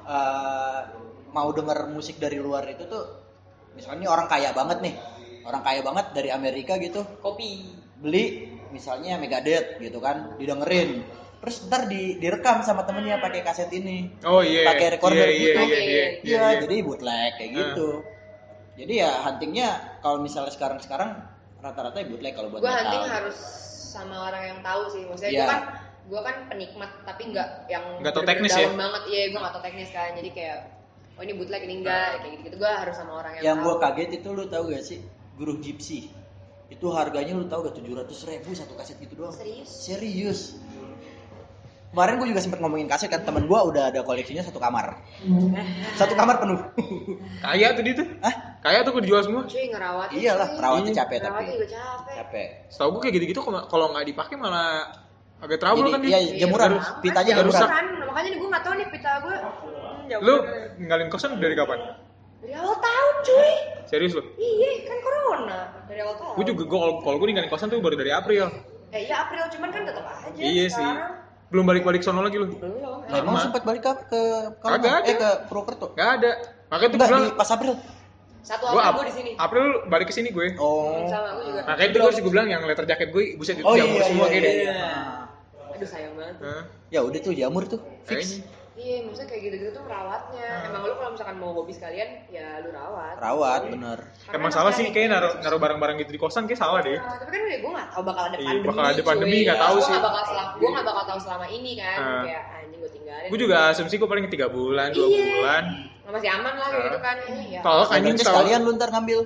Speaker 2: uh, mau denger musik dari luar itu tuh misalnya orang kaya banget nih. Orang kaya banget dari Amerika gitu
Speaker 4: kopi.
Speaker 2: beli misalnya Megadeth gitu kan didengerin terus ntar di, direkam sama temennya pakai kaset ini
Speaker 1: Oh iya.
Speaker 2: Pakai
Speaker 1: Iya,
Speaker 2: recorder
Speaker 1: iya, iya,
Speaker 2: gitu.
Speaker 1: iya,
Speaker 4: Iya,
Speaker 1: iya,
Speaker 2: Iya,
Speaker 1: iya.
Speaker 2: jadi bootleg kayak
Speaker 1: Ah.
Speaker 2: gitu. Jadi ya huntingnya kalau misalnya sekarang-sekarang rata-rata ya bootleg kalau buat
Speaker 4: Gue
Speaker 2: metal.
Speaker 4: hunting harus sama orang yang tahu sih. Maksudnya
Speaker 2: Iya.
Speaker 4: gue kan gue kan penikmat tapi nggak yang
Speaker 1: Nggak tau
Speaker 4: bener-bener
Speaker 1: teknis ya?
Speaker 4: down banget. Iya, gue nggak tau teknis kan. Jadi kayak oh ini bootleg ini enggak kayak gitu-gitu. Gue harus sama orang yang,
Speaker 2: Nah. Yang
Speaker 4: tahu.
Speaker 2: gue kaget itu lu tahu gak sih? Guru Gypsy. Itu harganya lu tahu gak 700 ribu satu kaset gitu doang.
Speaker 4: Serius?
Speaker 2: Serius. Kemarin gue juga sempet ngomongin kaset kan temen gue udah ada koleksinya satu kamar. Satu kamar penuh.
Speaker 1: Kaya tuh dia tuh.
Speaker 2: Hah?
Speaker 1: Kaya tuh gue dijual semua.
Speaker 4: Cuy ngerawat.
Speaker 2: Iyalah, perawatnya Iya capek tapi.
Speaker 4: Ngerawatnya juga capek.
Speaker 2: Capek.
Speaker 1: Setahu gue kayak gitu-gitu kalau- kalau nggak dipakai malah agak
Speaker 2: Jadi,
Speaker 1: trouble kan
Speaker 2: iya,
Speaker 1: dia.
Speaker 2: jemuran.
Speaker 1: Terus.
Speaker 2: Pitanya
Speaker 1: Nggak
Speaker 2: jemuran.
Speaker 1: rusak.
Speaker 4: Kan, makanya gue nggak tahu nih pita gue. Hmm, jauh
Speaker 1: Lu
Speaker 4: banget.
Speaker 1: ninggalin kosan dari kapan?
Speaker 4: dari awal tahun cuy.
Speaker 1: Serius lo?
Speaker 4: Iya, kan corona dari awal tahun.
Speaker 1: Gue juga gue kalau gue ninggalin kosan tuh baru dari April.
Speaker 4: eh iya April cuman kan tetap aja
Speaker 1: Iya sih. Nah,
Speaker 4: sekarang.
Speaker 1: Belum balik-balik sono lagi lu.
Speaker 4: belum
Speaker 2: Lah, Nah, emang
Speaker 1: Lama.
Speaker 2: sempat balik ke ke
Speaker 1: Kagak
Speaker 2: Kalimantan?
Speaker 1: ada.
Speaker 2: eh ke Purwokerto.
Speaker 1: Gak ada. Makanya tuh gue
Speaker 2: Enggak
Speaker 1: bilang,
Speaker 2: di pas April.
Speaker 4: satu
Speaker 1: gue
Speaker 4: April gue di sini
Speaker 1: April balik ke sini gue.
Speaker 2: Oh.
Speaker 4: sama aku juga
Speaker 1: Makanya itu gue sih gue bilang yang letter jacket gue buset itu
Speaker 2: Oh iya,
Speaker 1: jamur
Speaker 2: iya,
Speaker 1: semua
Speaker 2: iya,
Speaker 1: kayaknya.
Speaker 2: iya.
Speaker 4: aduh sayang banget
Speaker 1: Hah?
Speaker 2: Ya udah tuh jamur tuh.
Speaker 1: Kayaknya.
Speaker 2: Fix.
Speaker 4: iya maksudnya kayak gitu-gitu tuh merawatnya
Speaker 1: Ah.
Speaker 4: emang lu kalau misalkan mau hobi sekalian ya lu rawat
Speaker 2: Rawat bener.
Speaker 4: Karena
Speaker 1: Emang salah
Speaker 4: masalahnya-
Speaker 1: sih kayak naruh naruh barang-barang gitu di kosan kayak salah deh.
Speaker 4: Nah, tapi kan gue gak tau bakal
Speaker 1: Iya,
Speaker 4: ada pandemi
Speaker 1: bakal ada pandemi,
Speaker 4: cuy.
Speaker 1: nggak tahu
Speaker 4: Gue
Speaker 1: sih. Iya.
Speaker 4: nggak bakal selama, gue gak bakal tahu selama ini kan
Speaker 1: Ah.
Speaker 4: Kayak anjing gue tinggalin
Speaker 1: Gue juga asumsi gue paling tiga bulan, dua
Speaker 4: Iya.
Speaker 1: bulan.
Speaker 4: Nggak masih aman lah kayak
Speaker 1: Ah.
Speaker 4: gitu kan Ini ya
Speaker 1: Tolak anjing
Speaker 2: Anjing
Speaker 1: setahun.
Speaker 2: sekalian lu ntar ngambil.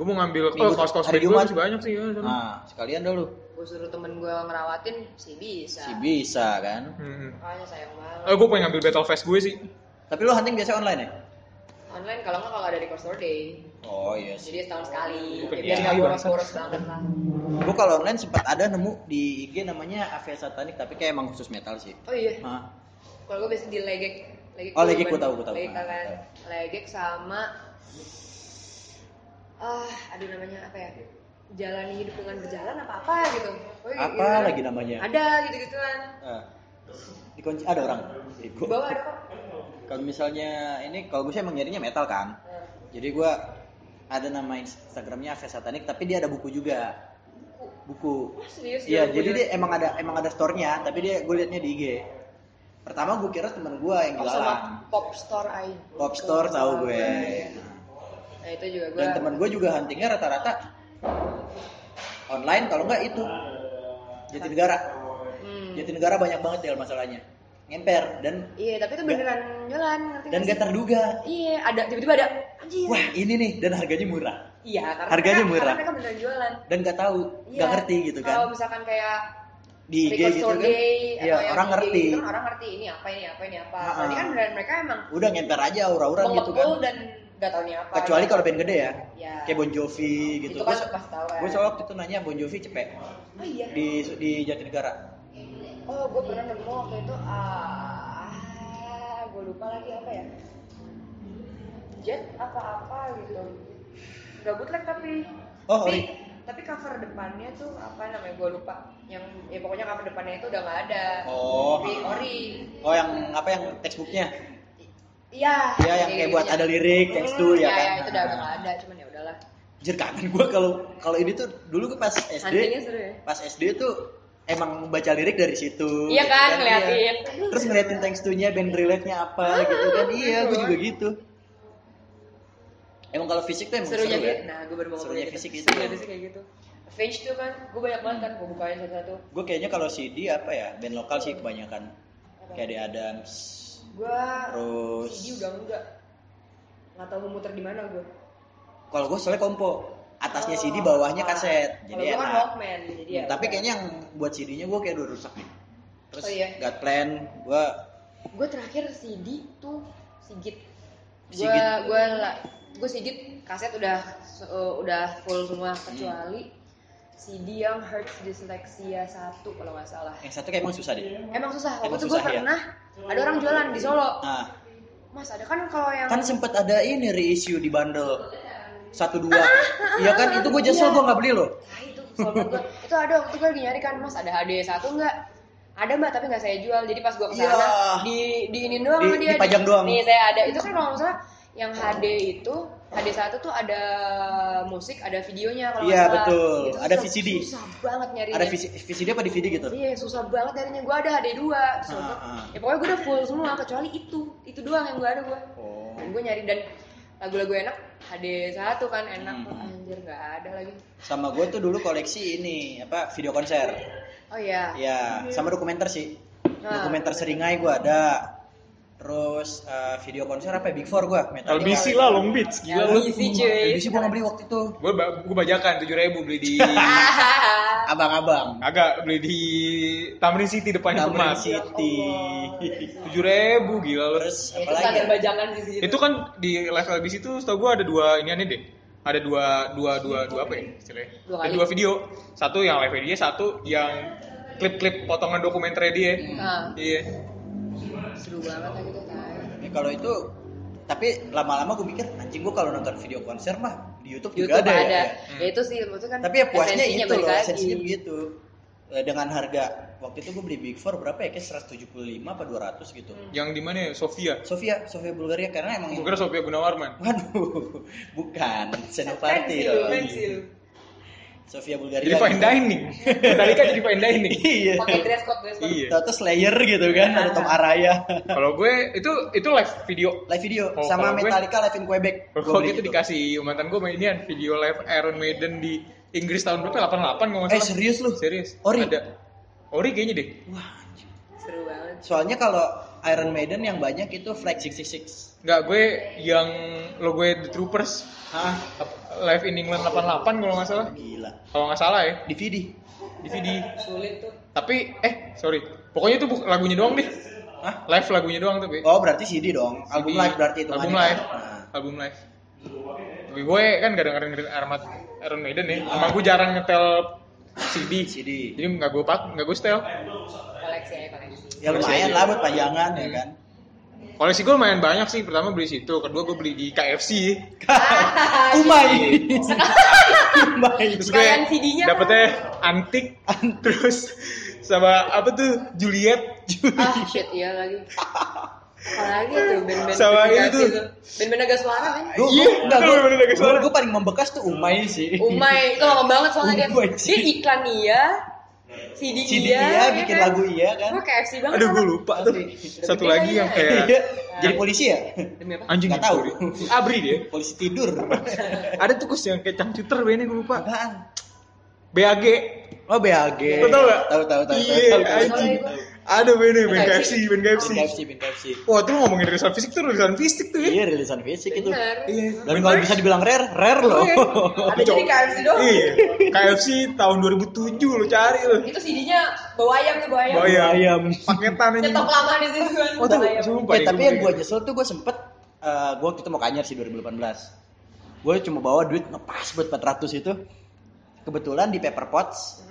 Speaker 1: Gue mau ngambil oh,
Speaker 2: Minggu-
Speaker 1: kaos-kaos band
Speaker 2: hari
Speaker 1: gue
Speaker 2: Jumat.
Speaker 1: masih banyak sih. Ya, sama.
Speaker 2: Nah, sekalian dah lu.
Speaker 4: gue suruh temen gue ngerawatin sih bisa
Speaker 2: Si bisa kan.
Speaker 1: Hmm.
Speaker 4: makanya sayang
Speaker 1: Eh,
Speaker 4: banget
Speaker 1: gue pengen ngambil battle face gue sih.
Speaker 2: Tapi lu hunting biasa online ya?
Speaker 4: online kalau nggak kalau ada record store day
Speaker 2: Oh iya sih.
Speaker 4: jadi setahun sekali
Speaker 1: Bukan
Speaker 4: ya,
Speaker 1: iya,
Speaker 4: biar nggak
Speaker 1: iya,
Speaker 4: boros-boros banget lah
Speaker 2: Gua kalau online sempat ada nemu di IG namanya Avia Satanic tapi kayak emang khusus metal sih.
Speaker 4: oh iya
Speaker 2: Hah.
Speaker 4: kalau gue biasa di legek legek
Speaker 2: Oh, legek gue
Speaker 4: Urban.
Speaker 2: tahu, gue tahu.
Speaker 4: legek
Speaker 2: Ah,
Speaker 4: kan
Speaker 2: tahu.
Speaker 4: legek sama ah aduh namanya apa ya jalani hidup dengan berjalan apa apa gitu Pokoknya kayak
Speaker 2: Apa
Speaker 4: gitu.
Speaker 2: lagi namanya?
Speaker 4: ada gitu gituan
Speaker 2: Eh, dikunci ada orang.
Speaker 4: di bawah ada kok
Speaker 2: Kalau misalnya ini kalau gue sih emang nyarinya metal kan.
Speaker 4: Eh,
Speaker 2: Jadi gue ada nama Instagramnya Avia Satanic tapi dia ada buku juga. Buku.
Speaker 4: wah serius
Speaker 2: Iya,
Speaker 4: ya,
Speaker 2: jadi
Speaker 4: gue-
Speaker 2: dia emang ada emang ada store-nya, tapi dia gue liatnya di IG. Pertama gue kira teman gue yang
Speaker 4: Oh, sama
Speaker 2: jualan.
Speaker 4: pop store aja
Speaker 2: Pop store tahu gue.
Speaker 4: nah itu juga gue
Speaker 2: Dan teman gue juga huntingnya rata-rata online kalau nggak itu Jatinegara.
Speaker 4: Hmm.
Speaker 2: Jatinegara banyak banget ya masalahnya. Ngemper dan
Speaker 4: iya tapi itu beneran jalan ngerti
Speaker 2: dan
Speaker 4: nggak
Speaker 2: gak terduga.
Speaker 4: sih? iya ada tiba-tiba ada anjir
Speaker 2: Wah, ini nih dan harganya murah.
Speaker 4: iya karena
Speaker 2: harganya
Speaker 4: mereka,
Speaker 2: murah.
Speaker 4: karena mereka beneran jualan
Speaker 2: Dan gak tahu,
Speaker 4: Iya.
Speaker 2: nggak ngerti gitu
Speaker 4: Kalau
Speaker 2: kan.
Speaker 4: misalkan kayak
Speaker 2: Di IG
Speaker 4: record
Speaker 2: gitu
Speaker 4: store
Speaker 2: kan.
Speaker 4: day
Speaker 2: Iya,
Speaker 4: atau yang
Speaker 2: orang
Speaker 4: di IG
Speaker 2: ngerti.
Speaker 4: gitu kan orang ngerti ini apa ini apa ini apa.
Speaker 2: Ha-ha.
Speaker 4: Berarti kan brand mereka emang
Speaker 2: Udah ngemper aja aura-aura gitu
Speaker 4: mengepul
Speaker 2: kan.
Speaker 4: dan gak tau ini apa.
Speaker 2: Kecuali
Speaker 4: gitu.
Speaker 2: kalau band gede ya.
Speaker 4: Iya.
Speaker 2: Kayak Bon Jovi gitu.
Speaker 4: Itu kan
Speaker 2: Gua-
Speaker 4: pas tahu kan.
Speaker 2: Gue soal waktu itu nanya Bon Jovi cepet
Speaker 4: Oh iya.
Speaker 2: di di Jatinegara.
Speaker 4: Oh, gue pernah nemu waktu itu ah gue lupa lagi apa ya. Jet apa-apa gitu. Gak bootleg tapi
Speaker 2: Oh,
Speaker 4: tapi,
Speaker 2: ori.
Speaker 4: tapi cover depannya tuh apa namanya gue lupa yang ya pokoknya cover depannya itu udah nggak ada
Speaker 2: Oh.
Speaker 4: tapi ori
Speaker 2: Oh yang apa yang textbooknya?
Speaker 4: iya
Speaker 2: Iya yang kayak buat
Speaker 4: gitunya.
Speaker 2: ada lirik thanks to ya
Speaker 4: ya,
Speaker 2: kan.
Speaker 4: itu udah udah nggak ada cuman ya udahlah
Speaker 2: Anjir kangen gue kalau kalau ini tuh dulu gue pas SD.
Speaker 4: Huntingnya seru ya?
Speaker 2: Pas SD tuh emang baca lirik dari situ.
Speaker 4: Iya
Speaker 2: gitu
Speaker 4: kan, ngeliatin. Ah,
Speaker 2: iya. Terus ngeliatin thanks to-nya band relate-nya apa gitu kan. Iya, gue juga gitu. Emang kalau fisik tuh emang seru
Speaker 4: serunya gitu
Speaker 2: ya.
Speaker 4: nah gue baru mau ngomong
Speaker 2: Serunya
Speaker 4: gitu.
Speaker 2: fisik ya? itu.
Speaker 4: serunya fisik kayak gitu Avenged tuh kan gue banyak banget kan gue bukain satu-satu
Speaker 2: Gue kayaknya kalau CD apa ya, band lokal sih kebanyakan. Kayak The Adams.
Speaker 4: gue
Speaker 2: Terus-
Speaker 4: CD udah enggak nggak tahu mau muter di mana gue
Speaker 2: Kalau gue soalnya kompo, atasnya
Speaker 4: Oh,
Speaker 2: CD, bawahnya
Speaker 4: apa.
Speaker 2: kaset. Jadi
Speaker 4: Kalau gua kan
Speaker 2: enak.
Speaker 4: Walkman jadi ya
Speaker 2: Tapi kayaknya yang buat CD-nya gue kayak udah rusak nih. Terus
Speaker 4: Oh, iya.
Speaker 2: God Plan, gue
Speaker 4: gue terakhir CD tuh Sigit gue
Speaker 2: Sigit.
Speaker 4: gue gue Sigit kaset udah uh, udah full semua
Speaker 2: Hmm.
Speaker 4: kecuali CD yang Hertz Dyslexia 1 kalau nggak salah
Speaker 2: yang satu kayak emang susah deh.
Speaker 4: Emang susah. Waktu
Speaker 2: Emang
Speaker 4: itu gue
Speaker 2: susah, ya?
Speaker 4: pernah ada orang jualan di Solo.
Speaker 2: Nah,
Speaker 4: Mas ada kan kalau yang
Speaker 2: kan sempet ada ini reissue di bundle satu dua iya kan itu gue nyesel gue nggak beli loh
Speaker 4: Ah, itu kesel banget gua. Itu ada waktu gue lagi nyari kan Mas ada HD satu nggak? Ada mbak tapi nggak saya jual. Jadi pas gue kesana
Speaker 2: Iya.
Speaker 4: di di ini doang
Speaker 2: Di-
Speaker 4: sama dia.
Speaker 2: dipajang doang.
Speaker 4: Nih saya ada. Itu kan kalau nggak salah yang HD itu HD satu tuh ada musik, ada videonya kalau nggak
Speaker 2: Iya,
Speaker 4: salah.
Speaker 2: betul.
Speaker 4: Itu
Speaker 2: Ada
Speaker 4: susah-
Speaker 2: VCD.
Speaker 4: Susah banget nyarinya.
Speaker 2: ada visi visi dia apa DVD gitu
Speaker 4: Iya susah banget nyarinya. Gue ada HD dua. Terus
Speaker 2: Ah,
Speaker 4: gua-
Speaker 2: ah.
Speaker 4: Ya pokoknya gue udah full semua kecuali itu. Itu doang yang gue ada gue.
Speaker 2: oh
Speaker 4: dan gue nyari dan lagu-lagu enak HD satu kan enak
Speaker 2: Hmm.
Speaker 4: anjir nggak ada lagi
Speaker 2: sama gue tuh dulu koleksi ini apa video konser
Speaker 4: oh iya
Speaker 2: ya sama dokumenter sih
Speaker 4: Nah.
Speaker 2: dokumenter seringai gue ada terus eh, video konser apa ya? Big Four gue metal
Speaker 1: LBC lah Long Beach, gila lu.
Speaker 4: LBC cuy
Speaker 2: LBC gue nggak beli waktu itu
Speaker 1: Gue ba- gue bajakan tujuh ribu beli di
Speaker 2: Iya.
Speaker 4: Hahaha.
Speaker 2: abang-abang
Speaker 1: agak beli di Tamrin City depannya
Speaker 2: Tamrin
Speaker 1: Pemas.
Speaker 2: City
Speaker 1: Tujuh ribu gila lu.
Speaker 2: terus apa
Speaker 4: Ya, itu
Speaker 2: lagi
Speaker 4: standar Ya, bajangan sih sih
Speaker 1: Itu kan di live LBC itu setahu gue ada dua ini aneh deh. Ada dua dua dua dua apa ya istilahnya?
Speaker 4: Dua
Speaker 1: Ada
Speaker 4: kali.
Speaker 1: dua video. Satu yang live dia, satu yang klip-klip potongan dokumenter dia.
Speaker 4: Ah,
Speaker 1: Iya.
Speaker 4: seru banget lah gitu kan
Speaker 2: Ya, kalau itu tapi lama-lama gue mikir anjing gue kalau nonton video konser mah di YouTube,
Speaker 4: YouTube
Speaker 2: juga ada,
Speaker 4: ada,
Speaker 2: ya.
Speaker 4: Ya, itu sih maksudnya kan
Speaker 2: Tapi ya puasnya
Speaker 4: esensinya
Speaker 2: itu
Speaker 4: balik
Speaker 2: loh, gitu,
Speaker 4: lagi.
Speaker 2: esensinya begitu. eh, dengan harga waktu itu gue beli Big Four berapa ya? Kayak 175 apa 200 gitu.
Speaker 1: Yang di mana ya? Sofia.
Speaker 2: Sofia, Sofia Bulgaria karena emang
Speaker 1: Gue kira Sofia Gunawarman.
Speaker 2: Waduh, bukan Senopati
Speaker 4: Pensi lu,
Speaker 2: dong.
Speaker 4: pensi lu.
Speaker 2: Sofia Bulgaria. gitu.
Speaker 1: Jadi fine dining. Tadi kan jadi fine dining.
Speaker 2: Iya.
Speaker 4: Pakai dress code, dress code.
Speaker 1: Iya.
Speaker 2: Tahu Slayer gitu kan,
Speaker 4: Iya.
Speaker 2: ada Tom Araya.
Speaker 1: Kalau gue itu itu live video.
Speaker 2: Live video
Speaker 1: Oh,
Speaker 2: sama
Speaker 1: kalau gue-
Speaker 2: Metallica live in Quebec. Gue
Speaker 1: Kalau
Speaker 2: beli
Speaker 1: gitu
Speaker 2: itu.
Speaker 1: dikasih mantan gue mainian video live Iron Maiden di Inggris tahun berapa? 88 kalau nggak
Speaker 2: Eh
Speaker 1: salah.
Speaker 2: serius lu?
Speaker 1: Serius.
Speaker 2: Ori.
Speaker 1: Ada. Ori kayaknya deh.
Speaker 2: Wah. anjing.
Speaker 4: Seru banget.
Speaker 2: Soalnya kalau Iron Maiden yang banyak itu Flag 666.
Speaker 1: Enggak, gue yang lo gue The Troopers
Speaker 2: Hah?
Speaker 1: live in England 88 kalau nggak salah.
Speaker 2: Gila.
Speaker 1: Kalau nggak salah ya,
Speaker 2: DVD.
Speaker 1: DVD.
Speaker 4: Sulit tuh.
Speaker 1: Tapi eh sorry, pokoknya itu bu- lagunya doang deh.
Speaker 2: Hah?
Speaker 1: Live lagunya doang tapi.
Speaker 2: Oh berarti CD dong. Album live berarti itu.
Speaker 1: Album
Speaker 2: kan?
Speaker 1: live.
Speaker 2: Nah.
Speaker 1: Album live. Tapi gue kan gak dengerin dengerin Armat Iron Maiden ya. Sama gue jarang ngetel CD.
Speaker 2: CD.
Speaker 1: Jadi nggak gue pak, nggak gue setel.
Speaker 4: Koleksi ya, koleksi.
Speaker 2: Ya
Speaker 1: iya.
Speaker 2: lumayan lah buat pajangan ya kan.
Speaker 1: Koleksi gue lumayan banyak sih. Pertama beli situ, kedua gue beli di KFC. Oh
Speaker 2: Umai. Umai.
Speaker 1: Terus gue
Speaker 4: Sekalian CD-nya kan?
Speaker 1: dapetnya antik, terus sama apa tuh Juliet,
Speaker 4: Ah, shit, iya lagi. Apalagi tuh band-band gitu.
Speaker 1: Sama
Speaker 4: band
Speaker 1: itu.
Speaker 4: Bekasi
Speaker 2: Band-band agak suara
Speaker 4: kan?
Speaker 1: Iya, itu bener-bener agak suara.
Speaker 2: Gue paling membekas tuh Umai sih.
Speaker 1: Oh
Speaker 4: Umay, Oh itu lama banget soalnya dia,
Speaker 2: Umay sih.
Speaker 4: dia iklan iya, CD,
Speaker 2: Oh CD
Speaker 4: iya,
Speaker 2: dia
Speaker 4: ya
Speaker 2: bikin
Speaker 4: kan?
Speaker 2: lagu iya kan.
Speaker 4: Gue KFC banget.
Speaker 1: Aduh gue
Speaker 4: sama-
Speaker 1: lupa tuh.
Speaker 4: Asli.
Speaker 1: Satu
Speaker 4: Udah
Speaker 1: lagi
Speaker 4: gede
Speaker 1: yang
Speaker 4: kali ya.
Speaker 1: kayak
Speaker 2: Iya. Jadi polisi ya?
Speaker 4: Demi apa?
Speaker 1: anjing
Speaker 2: Nggak tahu.
Speaker 1: gitu. Abri dia.
Speaker 2: Polisi tidur.
Speaker 1: Ada tuh kus yang kayak cangcuter bandnya gue lupa.
Speaker 2: Apaan?
Speaker 1: BAG.
Speaker 2: Oh BAG.
Speaker 1: Lo tau gak?
Speaker 2: Tahu tahu tahu.
Speaker 1: Iya,
Speaker 2: tahu, tahu,
Speaker 1: anjing.
Speaker 2: tahu, tahu.
Speaker 1: Ada bandnya, band KFC,
Speaker 4: KFC.
Speaker 1: band KFC.
Speaker 2: Bin KFC, bin KFC.
Speaker 1: Wah, tuh ngomongin rilisan fisik tuh rilisan fisik tuh ya.
Speaker 2: Iya rilisan fisik itu.
Speaker 4: Bener.
Speaker 2: Dan kalau bisa dibilang rare, rare loh.
Speaker 1: Iya.
Speaker 4: Ada jadi KFC doang.
Speaker 1: Iya. KFC tahun 2007 lo cari lo.
Speaker 4: Itu CD-nya bawa ayam tuh, bawa ayam.
Speaker 1: Bawa
Speaker 2: Ayam.
Speaker 1: ayam. Paketan Hmm. anjing.
Speaker 4: Nyetok lama di situ kan.
Speaker 1: Oh, tuh,
Speaker 4: bawa ayam.
Speaker 1: sumpah.
Speaker 2: Eh,
Speaker 1: deh,
Speaker 2: tapi
Speaker 1: gue
Speaker 2: yang gue
Speaker 1: beli.
Speaker 2: nyesel tuh gue sempet eh gue waktu itu mau kanyar sih 2018 gue cuma bawa duit ngepas buat 400 itu kebetulan di Paper Pots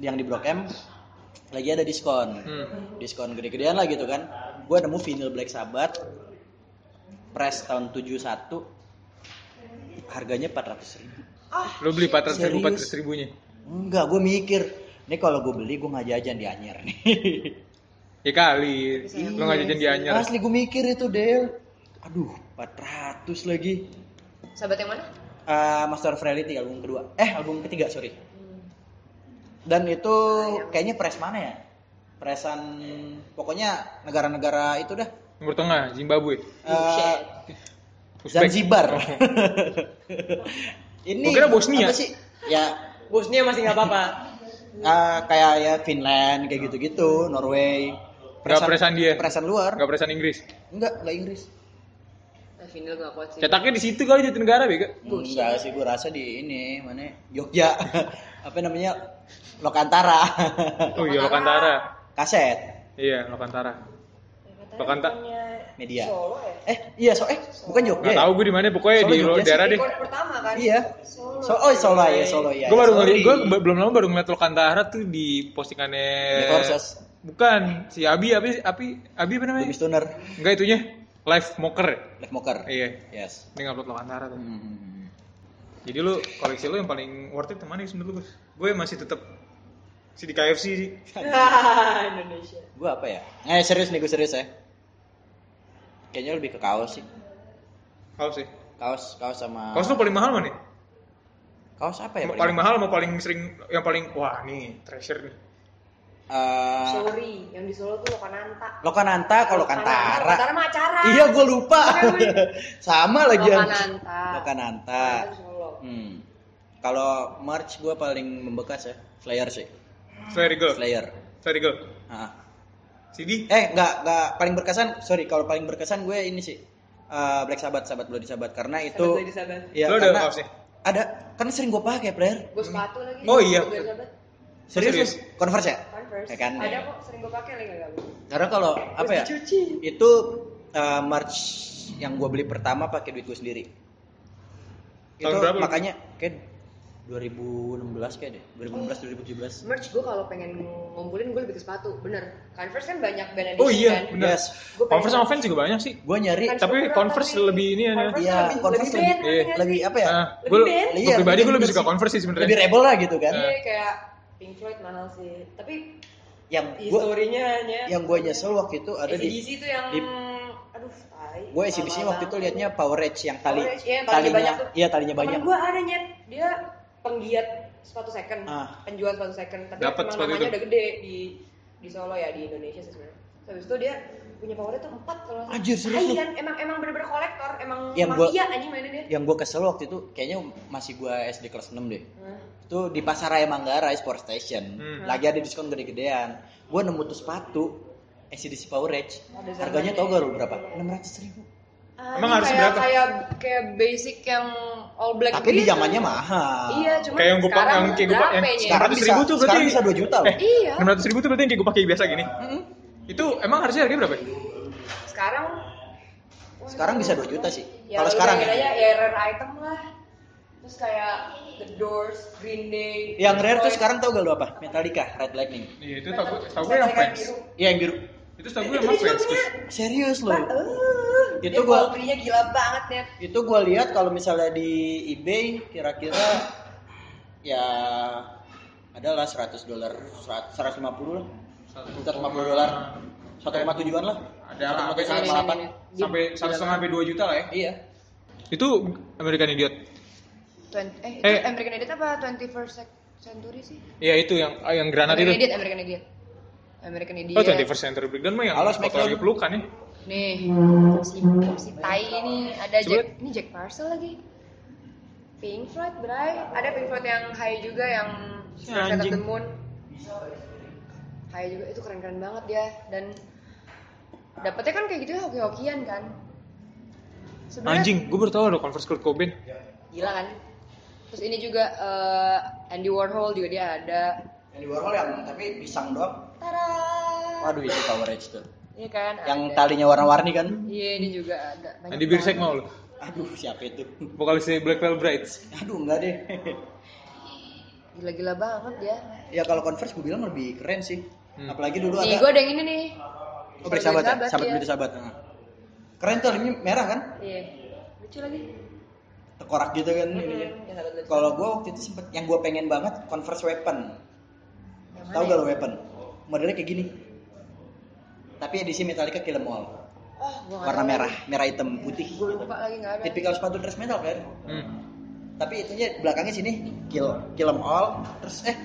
Speaker 2: yang di Blok M lagi ada diskon
Speaker 1: Hmm.
Speaker 2: diskon gede-gedean lah gitu kan gue nemu vinyl Black Sabbath press tahun 71 harganya 400 ribu
Speaker 1: Lo beli 400 ribu,
Speaker 2: Serius?
Speaker 1: 400 ribunya.
Speaker 2: enggak gue mikir ini kalau gue beli gue nggak jajan di Anyer nih
Speaker 1: Ya kali. Lo gak jajan di anyar.
Speaker 2: Asli gue mikir itu Del. Aduh, 400 lagi.
Speaker 4: Sahabat yang mana?
Speaker 2: Eh, Master of Reality album kedua. Eh, album ketiga, sorry. Dan itu kayaknya press mana ya? Presan pokoknya negara-negara itu dah.
Speaker 1: Timur Tengah, Zimbabwe.
Speaker 2: Eh,
Speaker 1: Uzbek.
Speaker 2: Zanzibar. Ini
Speaker 1: Gua kira Bosnia.
Speaker 2: apa sih? Ya
Speaker 4: Bosnya masih nggak apa-apa.
Speaker 2: eh, kayak ya Finland kayak gitu-gitu, Norway.
Speaker 1: Nggak presan dia.
Speaker 2: Presan luar.
Speaker 1: Gak perasaan Inggris.
Speaker 2: Enggak, enggak Inggris.
Speaker 4: Nah, vinyl gak kuat sih.
Speaker 1: Cetaknya di situ kali Jatinegara, Bega.
Speaker 2: Enggak sih, gue rasa di ini, mana Jogja, apa namanya, Lokantara,
Speaker 1: Oh iya, Lokantara.
Speaker 2: kaset,
Speaker 1: Iya, Lokantara. Lokantara.
Speaker 2: media.
Speaker 4: ya?
Speaker 2: Eh, iya, so, eh, bukan
Speaker 1: Gak
Speaker 2: Jogja ya?
Speaker 1: tahu gue di mana, pokoknya
Speaker 2: Soalnya
Speaker 1: di
Speaker 2: Jogja sih.
Speaker 1: daerah deh.
Speaker 4: Rekor pertama kan?
Speaker 2: Iya. So, oh, Solo ya, Solo ya.
Speaker 1: Gue baru ngeliat,
Speaker 2: Sorry.
Speaker 1: gue belum lama baru ngeliat Lokantara tuh di postingannya.
Speaker 2: Di Korsos.
Speaker 1: Bukan, si Abi, Abi, Abi, Abi apa namanya?
Speaker 2: Bumi Stoner,
Speaker 1: Enggak itunya, live mocker. ya?
Speaker 2: Left Mocker.
Speaker 1: Iya,
Speaker 2: Yes.
Speaker 1: ini ngupload Lokantara tuh.
Speaker 2: Hmm.
Speaker 1: Jadi lu koleksi lu yang paling worth it yang mana sih menurut lu? Gus? Gue masih tetap si di KFC sih.
Speaker 4: Indonesia.
Speaker 2: Gue apa ya? Eh, serius nih, gue serius ya. Kayaknya lebih ke kaos sih.
Speaker 1: Kaos sih.
Speaker 2: Kaos, kaos sama...
Speaker 1: Kaos lu paling mahal mana?
Speaker 2: Kaos apa ya?
Speaker 1: Paling, mahal sama paling sering yang paling wah nih treasure nih.
Speaker 2: Eh,
Speaker 4: Sorry, yang di Solo tuh Lokananta.
Speaker 2: Lokananta kalau Kantara.
Speaker 4: Lokantara mah acara.
Speaker 2: Iya, gue lupa.
Speaker 4: Makanya gue-
Speaker 2: Sama lagi.
Speaker 4: Lokananta.
Speaker 2: Lokananta.
Speaker 4: Di Solo.
Speaker 2: Hmm. Kalau March gue paling membekas ya, Slayer sih.
Speaker 1: Sorry girl.
Speaker 2: Slayer.
Speaker 1: Sorry girl.
Speaker 2: Ah.
Speaker 1: CD.
Speaker 2: Eh, nggak nggak paling berkesan. Sorry, kalau paling berkesan gue ini sih eh, Black Sabbath, Sabat Bloody Sabat karena
Speaker 4: Sahabat
Speaker 2: itu.
Speaker 4: gue di Sahabat.
Speaker 2: Ya,
Speaker 1: Lo ada
Speaker 2: karena
Speaker 1: kaosnya?
Speaker 2: Ada, karena sering gue pakai player.
Speaker 4: Gue sepatu lagi.
Speaker 1: Oh, iya.
Speaker 4: Gue di Sahabat.
Speaker 2: Serius,
Speaker 1: Serius?
Speaker 2: Lu? Converse ya?
Speaker 4: Converse.
Speaker 2: Ya kan?
Speaker 4: Ada kok sering gue pakai lagi nggak gabung.
Speaker 2: Karena kalau apa ya?
Speaker 4: dicuci.
Speaker 2: Itu eh, March yang gue beli pertama pakai duit gue sendiri.
Speaker 1: Tahun
Speaker 2: itu
Speaker 1: berapa lu?
Speaker 2: makanya kayak 2016 kayak deh, 2016 2017.
Speaker 4: Merch gue kalau pengen ngumpulin gue lebih ke sepatu, bener. Converse kan banyak band
Speaker 1: Oh
Speaker 4: edition
Speaker 1: iya,
Speaker 4: kan.
Speaker 1: benar.
Speaker 2: Yes.
Speaker 4: Gua pengen-
Speaker 1: Converse sama fans juga banyak sih.
Speaker 2: Gue nyari
Speaker 4: Kan
Speaker 1: Tapi
Speaker 4: murah,
Speaker 1: Converse
Speaker 4: tapi-
Speaker 1: lebih ini ya.
Speaker 4: Converse
Speaker 2: Iya,
Speaker 4: lebih,
Speaker 2: Converse
Speaker 4: lebih,
Speaker 1: lebih-
Speaker 4: band,
Speaker 1: iya.
Speaker 4: ngerti nggak
Speaker 2: lebih
Speaker 4: sih?
Speaker 2: apa ya?
Speaker 1: Nah,
Speaker 4: Lebih
Speaker 1: gue
Speaker 4: band.
Speaker 1: gue
Speaker 2: Iya,
Speaker 1: pribadi
Speaker 2: lebih
Speaker 1: gue
Speaker 2: band
Speaker 1: lebih suka
Speaker 2: sih.
Speaker 1: Converse sih sebenarnya.
Speaker 2: Lebih rebel lah gitu kan.
Speaker 4: Iya, kayak Pink Floyd mahal sih tapi
Speaker 2: yang gua
Speaker 4: historinya hanya
Speaker 2: yang gue nyesel waktu itu ada di
Speaker 4: ACDC itu yang
Speaker 2: di-
Speaker 4: aduh tai
Speaker 2: gue sih waktu itu liatnya Power Rage yang tali
Speaker 4: Power Rage, iya, yang talinya
Speaker 2: talinya
Speaker 4: banyak tuh.
Speaker 2: iya talinya banyak
Speaker 4: banyak gue ada nyet dia penggiat sepatu second
Speaker 2: Ah.
Speaker 4: penjual sepatu second tapi
Speaker 1: Dapat
Speaker 4: emang
Speaker 1: sepatu
Speaker 4: namanya
Speaker 1: itu.
Speaker 4: udah gede di di Solo ya di Indonesia sih sebenarnya Terus habis itu dia punya powernya tuh empat kalau nggak salah.
Speaker 2: Anjir, serius lu?
Speaker 4: Tai kan emang emang bener-bener kolektor emang
Speaker 2: Yang
Speaker 4: emang
Speaker 2: gua-
Speaker 4: iya anjing mainnya dia
Speaker 2: yang gue kesel waktu itu kayaknya masih gue SD kelas 6 deh
Speaker 4: Hah?
Speaker 2: itu di pasar Raya Manggarai Sport Station
Speaker 1: Hmm.
Speaker 2: lagi ada diskon gede-gedean gue nemu tuh sepatu ACDC Power Rage
Speaker 4: Ada
Speaker 2: harganya
Speaker 4: zamannya.
Speaker 2: tau gak lu berapa? 600 ribu
Speaker 1: Emang
Speaker 4: Anjing,
Speaker 1: harus
Speaker 4: kayak,
Speaker 1: berapa?
Speaker 4: kayak kayak basic yang all black
Speaker 2: tapi di
Speaker 4: gitu.
Speaker 2: zamannya mahal
Speaker 4: iya cuma
Speaker 1: Kayak yang gue pakai, yang kayak gue pakai, yang
Speaker 2: sekarang
Speaker 1: ratus
Speaker 2: bisa
Speaker 1: ribu tuh berarti-
Speaker 2: sekarang bisa 2 juta loh
Speaker 1: Eh,
Speaker 4: iya
Speaker 1: 600 ribu tuh berarti yang kayak gue pakai biasa gini. Itu emang harusnya harganya berapa? ya?
Speaker 4: sekarang
Speaker 2: sekarang bisa 2 juta sih
Speaker 4: Ya,
Speaker 2: kalau
Speaker 4: udah,
Speaker 2: sekarang
Speaker 4: ya.
Speaker 2: ya
Speaker 4: ya rare item lah. Terus kayak The Doors, Green Day.
Speaker 2: yang
Speaker 4: Pink
Speaker 2: rare tuh
Speaker 4: Floyd.
Speaker 2: sekarang tau gak lu apa? Metallica Red Lightning
Speaker 1: Iya, itu tau gue, tau gue
Speaker 4: Metallica
Speaker 1: yang fans.
Speaker 4: biru.
Speaker 2: iya yang biru
Speaker 1: Itu tau gue
Speaker 4: Itu
Speaker 1: emang
Speaker 4: dia
Speaker 1: fans.
Speaker 4: punya.
Speaker 2: serius
Speaker 4: Ba-
Speaker 2: loh
Speaker 4: eh,
Speaker 2: Itu
Speaker 4: dia
Speaker 2: gua-
Speaker 4: poultry-nya gila banget net.
Speaker 2: itu gue lihat kalau misalnya di eBay kira-kira ya adalah 100 dolar serat- 150 lah 150 dolar 1,7an lah
Speaker 1: Ada lah, apa
Speaker 4: Ini, ini,
Speaker 2: 1,8
Speaker 4: ini.
Speaker 1: Sampai satu setengah sampai dua juta lah ya.
Speaker 2: iya
Speaker 1: Itu American Idiot.
Speaker 4: Twen- eh,
Speaker 1: Eh.
Speaker 4: itu American Idiot apa 21st sec- Century sih?
Speaker 1: Iya itu yang ah, yang granat
Speaker 4: American
Speaker 1: itu.
Speaker 4: Idiot, American Idiot. American Idiot.
Speaker 1: Oh, 21st Century Breakdown mah yang
Speaker 2: Halo,
Speaker 1: foto
Speaker 2: Smackdown.
Speaker 1: lagi pelukan ya.
Speaker 4: Nih, si, si Tai ini ada
Speaker 1: Coba.
Speaker 4: Jack, ini Jack Parcel lagi. Pink Floyd, Bray. Ada Pink Floyd yang high juga yang
Speaker 1: Ya,
Speaker 4: Stairway to
Speaker 1: anjing.
Speaker 4: the Moon. High juga itu keren-keren banget dia dan dapetnya kan kayak gitu ya hoki-hokian kan. Sebenarnya
Speaker 1: Anjing, gue baru tau ada Converse Kurt Cobain.
Speaker 4: gila kan. Terus ini juga eh, Andy Warhol juga dia ada.
Speaker 2: yang di Warhol yang tapi pisang doang
Speaker 4: Tara.
Speaker 2: waduh itu Power Rangers tuh
Speaker 4: Iya kan?
Speaker 2: yang
Speaker 4: ada.
Speaker 2: talinya warna-warni kan
Speaker 4: Iya, ini juga ada. Banyak
Speaker 1: Andy Birsek
Speaker 4: banget.
Speaker 1: mau lo.
Speaker 2: aduh siapa itu
Speaker 1: Vokalisnya Black Veil Brides.
Speaker 2: aduh enggak deh
Speaker 4: Gila-gila banget dia.
Speaker 2: ya kalau Converse gue bilang lebih keren sih
Speaker 1: Hmm.
Speaker 2: apalagi dulu
Speaker 4: Nih,
Speaker 2: ada
Speaker 4: gue ada yang ini nih.
Speaker 2: Oh, Black Sabbath ya?
Speaker 4: Black
Speaker 2: Sabbath
Speaker 4: Sabbath, iya.
Speaker 2: Black Sabbath. Nah. Keren tuh, ini merah kan?
Speaker 4: Iya. Lucu lagi.
Speaker 2: Tekorak gitu kan ininya.
Speaker 4: Yang satu tuh.
Speaker 2: Kalau gue waktu itu sempet yang gue pengen banget Converse Weapon.
Speaker 4: Yang
Speaker 2: Tahu
Speaker 4: mana
Speaker 2: gak
Speaker 4: ya?
Speaker 2: lo Weapon? Modelnya kayak gini. Tapi edisi Metallica Kill 'Em All.
Speaker 4: Oh, gua nggak
Speaker 2: Warna
Speaker 4: tahu.
Speaker 2: merah, merah hitam putih.
Speaker 4: Gua lupa lagi nggak ada.
Speaker 2: Tipikal sepatu dress metal kan?
Speaker 1: Hmm.
Speaker 2: Tapi itunya belakangnya sini Kill Kill 'Em All. Terus eh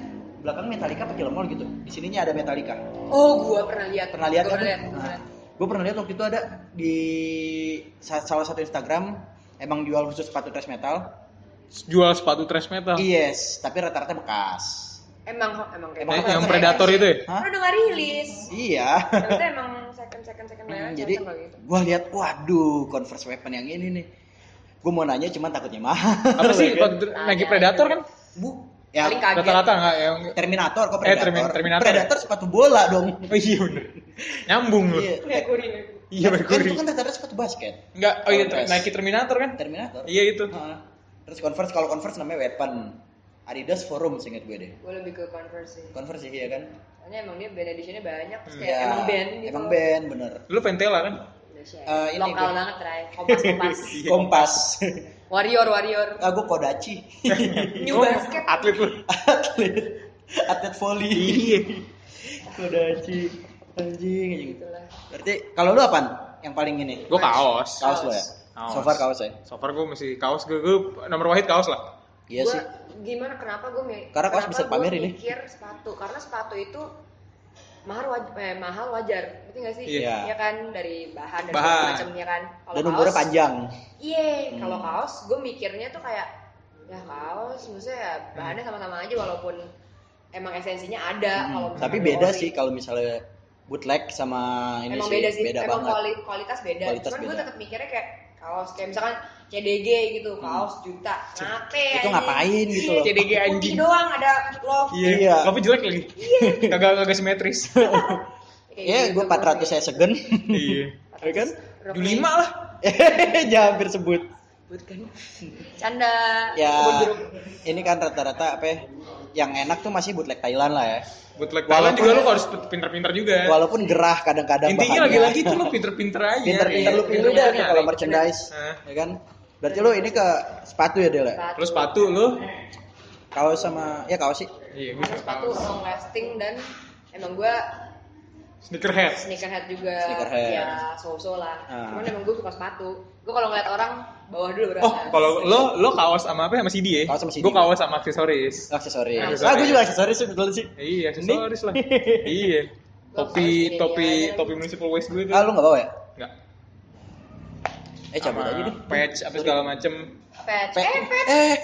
Speaker 2: belakang Metallica apa Kill 'Em All gitu. Di sininya ada Metallica.
Speaker 4: Oh, gua pernah lihat.
Speaker 2: pernah lihat
Speaker 4: Gua
Speaker 2: kan?
Speaker 4: Pernah lihat. gua
Speaker 2: Nah,
Speaker 4: pernah lihat.
Speaker 2: gue pernah lihat waktu itu ada di sa- salah satu Instagram emang jual khusus sepatu thrash metal.
Speaker 1: Jual sepatu trash
Speaker 4: Oh.
Speaker 1: metal.
Speaker 2: Iya, Yes, tapi rata-rata bekas.
Speaker 4: Emang emang kayak
Speaker 1: Eh,
Speaker 2: Emang
Speaker 4: gitu.
Speaker 1: yang
Speaker 4: Kayak
Speaker 1: Predator
Speaker 4: gitu.
Speaker 1: itu ya?
Speaker 2: Hah?
Speaker 4: Udah udah nggak rilis.
Speaker 2: Iya.
Speaker 4: Ternyata emang second second second merah.
Speaker 2: Hmm, jadi
Speaker 4: cocok kalau gitu.
Speaker 2: gue lihat, waduh, Converse Weapon yang ini nih. Gue mau nanya, cuman takutnya mahal.
Speaker 1: Apa sih?
Speaker 2: Kan?
Speaker 1: Waktu- Nike Predator kan?
Speaker 2: Bu, ya
Speaker 4: Paling kaget.
Speaker 1: Rata-rata nggak yang
Speaker 2: Terminator kok
Speaker 1: Eh,
Speaker 2: Predator.
Speaker 1: Termin- Terminator.
Speaker 2: Predator sepatu bola dong.
Speaker 1: Oh iya bener. Nyambung lu.
Speaker 2: Iya.
Speaker 4: Mercury, Mercury.
Speaker 1: Iya,
Speaker 2: kan
Speaker 1: Mercury.
Speaker 2: itu kan rata-rata sepatu basket.
Speaker 1: Enggak, oh iya
Speaker 2: Kalau dress.
Speaker 1: Nike Terminator kan?
Speaker 2: Terminator.
Speaker 1: Iya itu.
Speaker 2: Heeh. Terus Converse kalau Converse namanya Weapon. Adidas Forum seingat gue deh.
Speaker 4: Gua lebih ke Converse sih.
Speaker 2: Converse sih ya kan?
Speaker 4: Soalnya emang dia band editionnya banyak. Terus kayak
Speaker 2: Iya.
Speaker 4: emang band gitu.
Speaker 2: Emang band bener.
Speaker 1: Lu Ventela kan?
Speaker 4: Indonesia.
Speaker 2: Eh, ini
Speaker 4: Lokal
Speaker 2: gua-
Speaker 4: banget, Ray. Kompas kompas.
Speaker 1: Iya.
Speaker 2: Kompas.
Speaker 4: Warrior warrior.
Speaker 2: ah gue Kodachi.
Speaker 1: Oh,
Speaker 4: New basket.
Speaker 1: Atlet lu.
Speaker 2: atlet atlet volley. Iya. Kodachi. Anjing gitu. anjing.
Speaker 4: Itulah.
Speaker 2: Berarti kalau lu apaan? Yang paling ini?
Speaker 1: Gue kaos.
Speaker 2: Kaos lo ya?
Speaker 1: Kaos.
Speaker 2: So far kaos ya?
Speaker 1: So far gue masih kaos gue, gue nomor wahid kaos lah.
Speaker 2: Iya
Speaker 4: Gua
Speaker 2: sih.
Speaker 4: gimana kenapa gue
Speaker 2: Karena kaos bisa dipamerin nih.
Speaker 4: mikir sepatu karena sepatu itu mahal wajar, eh, mahal wajar berarti nggak sih
Speaker 2: Iya.
Speaker 4: ya kan dari bahan dan
Speaker 1: Bahan.
Speaker 4: segala macam ya kan
Speaker 2: Dan umurnya panjang.
Speaker 4: iya
Speaker 2: Hmm.
Speaker 4: kalau kaos gue mikirnya tuh kayak ya kaos maksudnya ya bahannya sama-sama aja walaupun emang esensinya ada kalau
Speaker 2: Hmm. Hmm,
Speaker 4: misalnya
Speaker 2: Tapi
Speaker 4: ada
Speaker 2: beda
Speaker 4: ori.
Speaker 2: sih kalau misalnya bootleg sama ini sih
Speaker 4: emang beda sih emang
Speaker 2: banget.
Speaker 4: kuali- kualitas beda
Speaker 2: Kualitas
Speaker 4: cuman gue
Speaker 2: beda.
Speaker 4: tetap mikirnya kayak kaos kayak misalkan CDG gitu kaos juta ngate
Speaker 2: Hmm. Itu
Speaker 4: anjing.
Speaker 2: ngapain gitu loh.
Speaker 1: CDG
Speaker 4: putih
Speaker 1: anjing.
Speaker 4: doang ada love
Speaker 2: Iya.
Speaker 1: Tapi jelek lagi. Kagak kagak simetris.
Speaker 4: gitu
Speaker 2: Iya, gue 400 saya segen.
Speaker 1: Iya.
Speaker 2: Ya kan?
Speaker 1: Julima lah.
Speaker 2: Jangan hampir sebut.
Speaker 4: Bukan. Canda.
Speaker 2: Ya,
Speaker 4: Kebun jeruk.
Speaker 2: ini kan rata-rata apa ya, yang enak tuh masih bootleg Thailand lah ya.
Speaker 1: Bootleg
Speaker 2: Walaupun-
Speaker 1: Thailand juga lu harus pinter-pinter juga.
Speaker 2: Walaupun gerah kadang-kadang
Speaker 1: Intinya
Speaker 2: bahannya.
Speaker 1: lagi-lagi itu lu pinter-pinter aja. Nah,
Speaker 2: Pinter-pinter lu pilih
Speaker 1: Pinter-pinter
Speaker 2: dah tuh kalau
Speaker 1: nyari.
Speaker 2: merchandise.
Speaker 1: Hah.
Speaker 2: Ya kan?
Speaker 4: Iya.
Speaker 2: Berarti lu ini ke sepatu ya Dela?
Speaker 1: Terus sepatu lu
Speaker 2: Kaos sama ya kaos sih.
Speaker 1: Iya, gue
Speaker 4: Terus
Speaker 1: juga
Speaker 4: sepatu
Speaker 1: tahu.
Speaker 4: long lasting dan emang gue
Speaker 1: Sneakerhead.
Speaker 4: sneakerhead juga
Speaker 2: Sneakerhead.
Speaker 4: ya so-so lah
Speaker 2: Ah.
Speaker 4: cuman emang gue suka sepatu gue kalau ngeliat orang bawah dulu berasa
Speaker 1: Oh, kalau lo lo kaos sama apa? Sama CD ya?
Speaker 2: Kaos sama CD.
Speaker 1: Gue kaos sama aksesoris.
Speaker 2: aksesoris.
Speaker 1: Aksesoris.
Speaker 2: Ah, gue juga aksesoris sebetulnya sih.
Speaker 1: Iya,
Speaker 2: Ini?
Speaker 1: aksesoris lah. iya. Topi
Speaker 4: kaos
Speaker 1: topi
Speaker 4: ini.
Speaker 1: topi municipal waste gue itu.
Speaker 2: Ah, lu nggak bawa ya?
Speaker 1: Enggak.
Speaker 2: Eh, cabut
Speaker 1: Sama
Speaker 2: aja deh.
Speaker 1: Patch apa segala macem.
Speaker 4: patch
Speaker 2: Pe-
Speaker 4: eh patch
Speaker 2: Eh,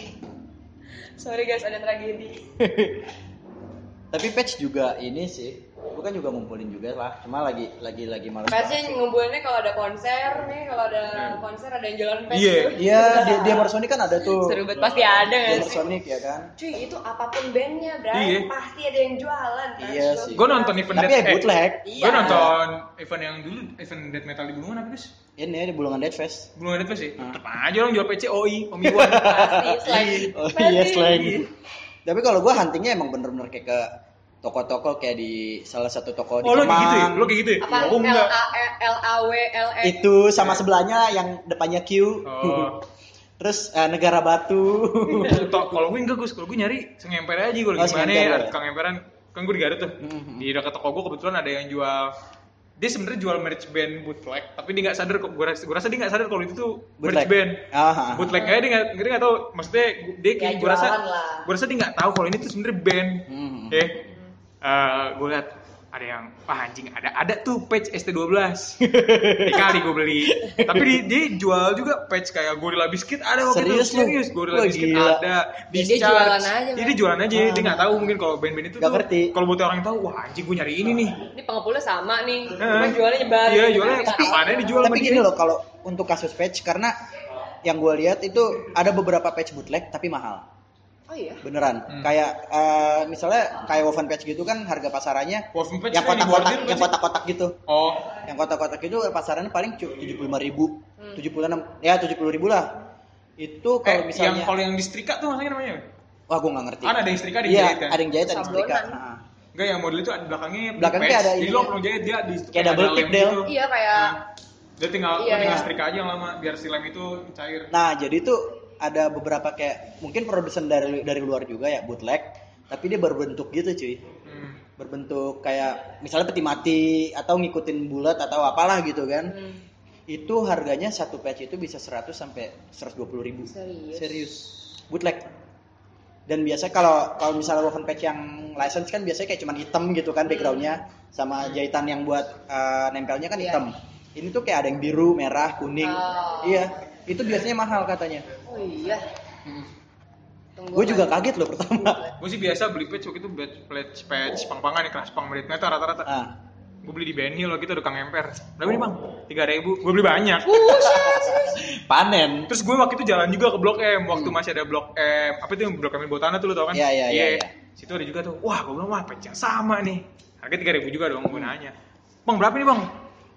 Speaker 4: sorry guys ada tragedi
Speaker 2: tapi patch juga ini sih. Gue kan juga ngumpulin juga lah. Cuma lagi lagi lagi malas.
Speaker 4: patchnya ngumpulinnya kalau ada konser nih kalau ada konser ada yang jalan patch
Speaker 1: Iya.
Speaker 4: tuh.
Speaker 2: Hmm. Iya, dia dia Sonic kan ada tuh.
Speaker 4: seru banget pasti ada
Speaker 2: Dia
Speaker 4: nggak sih
Speaker 2: Sonic ya kan.
Speaker 4: cuy itu apapun bandnya Bray
Speaker 1: Iya.
Speaker 4: pasti ada yang jualan kan?
Speaker 2: Iya
Speaker 4: Lo-
Speaker 2: sih.
Speaker 1: Gue nonton event
Speaker 2: Tapi ya bootleg.
Speaker 4: Iya.
Speaker 1: Gue nonton event yang dulu event death metal di Bulungan apa sih?
Speaker 2: Ini di Bulungan Dead Fest.
Speaker 1: Belum ada sih.
Speaker 2: Hah?
Speaker 1: Tetep aja orang jual PC OI, Omi Wan.
Speaker 4: pasti slang
Speaker 2: Oh
Speaker 4: Pasti.
Speaker 2: iya slang. Tapi kalau gue huntingnya emang bener-bener kayak ke toko-toko kayak di salah satu toko di
Speaker 1: oh, lo kayak gitu ya?
Speaker 2: Kemang.
Speaker 1: Lo kayak gitu ya?
Speaker 4: apa
Speaker 1: Oh,
Speaker 4: L
Speaker 1: enggak.
Speaker 4: A E, L A W L E
Speaker 2: itu sama sebelahnya yang depannya Q.
Speaker 1: Oh.
Speaker 2: Terus eh, negara batu.
Speaker 1: Tok, kalau gue enggak gue, kalau gue nyari sengemper aja gue
Speaker 2: Oh,
Speaker 1: lagi mana
Speaker 2: sengemper,
Speaker 1: ada
Speaker 2: ya?
Speaker 1: tukang emperan kan gue di Garut tuh
Speaker 2: Mhm.
Speaker 1: di dekat toko gue kebetulan ada yang jual dia sebenarnya jual merch band bootleg tapi dia nggak sadar kok gue rasa, gue rasa dia nggak sadar kalau itu tuh merch
Speaker 2: Bootleg. Ah.
Speaker 1: band
Speaker 2: Aha.
Speaker 1: bootleg kayak dia nggak dia nggak tahu maksudnya gu- dia
Speaker 4: Ya,
Speaker 1: kayak gue rasa
Speaker 4: jualan lah.
Speaker 1: gue rasa dia nggak tahu kalau ini tuh sebenarnya band
Speaker 2: Mhm.
Speaker 1: ya Eh, gue liat ada yang wah anjing ada ada tuh patch ST12 dikali gue beli tapi dia, dia jual juga patch kayak Gorilla Biscuit ada waktu
Speaker 2: Serius lu?
Speaker 1: itu serius Gorilla
Speaker 2: Wah,
Speaker 1: Biscuit
Speaker 2: gila.
Speaker 1: ada
Speaker 4: Dia- dia
Speaker 1: Discharge.
Speaker 4: jualan aja,
Speaker 1: Jadi
Speaker 4: Bang.
Speaker 1: dia jualan aja dia
Speaker 2: Ah.
Speaker 1: nggak tahu mungkin kalau band-band itu
Speaker 2: Nggak
Speaker 1: tuh
Speaker 2: ngerti. Ah.
Speaker 1: kalau buat orang tahu wah anjing gue nyari ini nih
Speaker 4: ini pengepulnya sama nih
Speaker 1: Nah,
Speaker 4: cuma jualnya nyebar
Speaker 1: iya jualnya tapi
Speaker 4: ada
Speaker 1: apaan dijual sama
Speaker 2: Tapi
Speaker 1: dia
Speaker 2: gini loh kalau untuk kasus patch karena yang gue lihat itu ada beberapa patch bootleg tapi mahal.
Speaker 4: oh iya
Speaker 2: Beneran.
Speaker 1: Hmm.
Speaker 2: Kayak eh, misalnya kayak woven patch gitu kan harga pasarannya
Speaker 1: Wolfen patch
Speaker 2: yang
Speaker 1: kan di
Speaker 2: kotak-kotak
Speaker 1: bordir
Speaker 2: yang
Speaker 1: pasti.
Speaker 2: kotak-kotak gitu.
Speaker 1: oh
Speaker 2: Yang kotak-kotak itu pasarannya paling tujuh puluh lima ribu, tujuh puluh enam, ya tujuh puluh ribu lah. Itu
Speaker 1: eh,
Speaker 2: kalau
Speaker 1: yang
Speaker 2: misalnya,
Speaker 1: kalau yang distrika tuh maksudnya namanya
Speaker 2: wah gue nggak ngerti.
Speaker 1: Kan ada yang setrika, ada yang
Speaker 2: Iya,
Speaker 1: jahit kan?
Speaker 2: ada yang jahit, ada yang setrika.
Speaker 4: Sablonan.
Speaker 2: Nah.
Speaker 1: Enggak yang model itu ada belakangnya
Speaker 2: Belakang kayak ada
Speaker 1: Jadi
Speaker 2: ini
Speaker 1: lo
Speaker 2: ya.
Speaker 1: perlu jahit dia di
Speaker 2: Kayak double tip, Del.
Speaker 4: iya kayak
Speaker 1: Ah. Dia tinggal lo
Speaker 4: Iya,
Speaker 1: tinggal
Speaker 4: iya.
Speaker 1: setrika aja yang lama biar si lem itu cair.
Speaker 2: Nah, jadi itu ada beberapa kayak mungkin produsen dari dari luar juga ya bootleg, tapi dia berbentuk gitu cuy.
Speaker 1: Hmm.
Speaker 2: Berbentuk kayak misalnya peti mati atau ngikutin bulat atau apalah gitu kan.
Speaker 4: hmm,
Speaker 2: Itu harganya satu patch itu bisa 100 sampai 120 ribu.
Speaker 4: serius
Speaker 2: Serius. Bootleg. Dan biasa kalau kalau misalnya woven patch yang license kan biasanya kayak cuman hitam gitu
Speaker 1: Hmm.
Speaker 2: kan backgroundnya sama jahitan yang buat eh, nempelnya kan
Speaker 4: Iya.
Speaker 2: hitam. Ini tuh kayak ada yang biru, merah, kuning.
Speaker 4: Oh.
Speaker 2: Iya, itu biasanya mahal katanya.
Speaker 4: oh iya tunggu
Speaker 2: Gue juga
Speaker 4: lagi.
Speaker 2: kaget loh pertama.
Speaker 1: Gue sih biasa beli patch waktu itu patch patch, patch pang-pangan ya kelas pang merit meter rata-rata.
Speaker 2: Ah.
Speaker 1: Gue beli di Ben Hill waktu itu ada kang emper. Berapa
Speaker 2: Oh.
Speaker 1: nih bang? Tiga ribu. Gue beli banyak.
Speaker 2: Uh. Panen.
Speaker 1: Terus gue waktu itu jalan juga ke Blok M waktu masih ada Blok M. Apa itu yang Blok M Botana tuh lo tau kan?
Speaker 2: Hmm. Iya, iya, iya, iya.
Speaker 1: Situ ada juga tuh. Wah, gue bilang wah patch yang sama nih. Harga 3000 juga dong
Speaker 2: Hmm.
Speaker 1: gue nanya. Bang, berapa nih, Bang?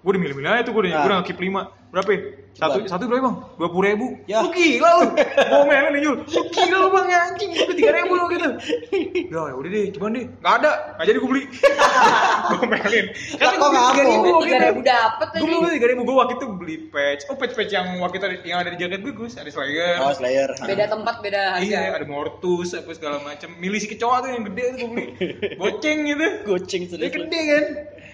Speaker 1: Gue udah milih-milih aja tuh gue udah
Speaker 2: Ah.
Speaker 1: gue udah keep 5. Berapa? ya? Satu
Speaker 2: Coba.
Speaker 1: satu berapa, Bang? 20 ribu.
Speaker 2: Ya.
Speaker 1: Lu gila lu. Ngomelin nih, Jul. Lu gila lu, Bang, ya, anjing. Udah 3000 lu gitu. Ya, ya udah deh, cuman deh. Enggak ada. Enggak jadi gue beli. Ngomelin. Kan
Speaker 2: Lah, kok
Speaker 1: gue
Speaker 2: ngamuk?
Speaker 1: 3000
Speaker 4: tiga ribu dapet
Speaker 1: gue
Speaker 4: lagi
Speaker 1: beli tiga ribu gue waktu itu beli patch oh patch patch yang waktu itu ada- yang ada di jaket gue gus ada Slayer
Speaker 2: Oh, Slayer. Ah.
Speaker 4: beda tempat beda harga
Speaker 1: iya ada Mortus apa segala macam milih si kecoa tuh yang gede tuh gue beli goceng gitu
Speaker 2: Kucing
Speaker 1: dia
Speaker 2: serius.
Speaker 1: gede kan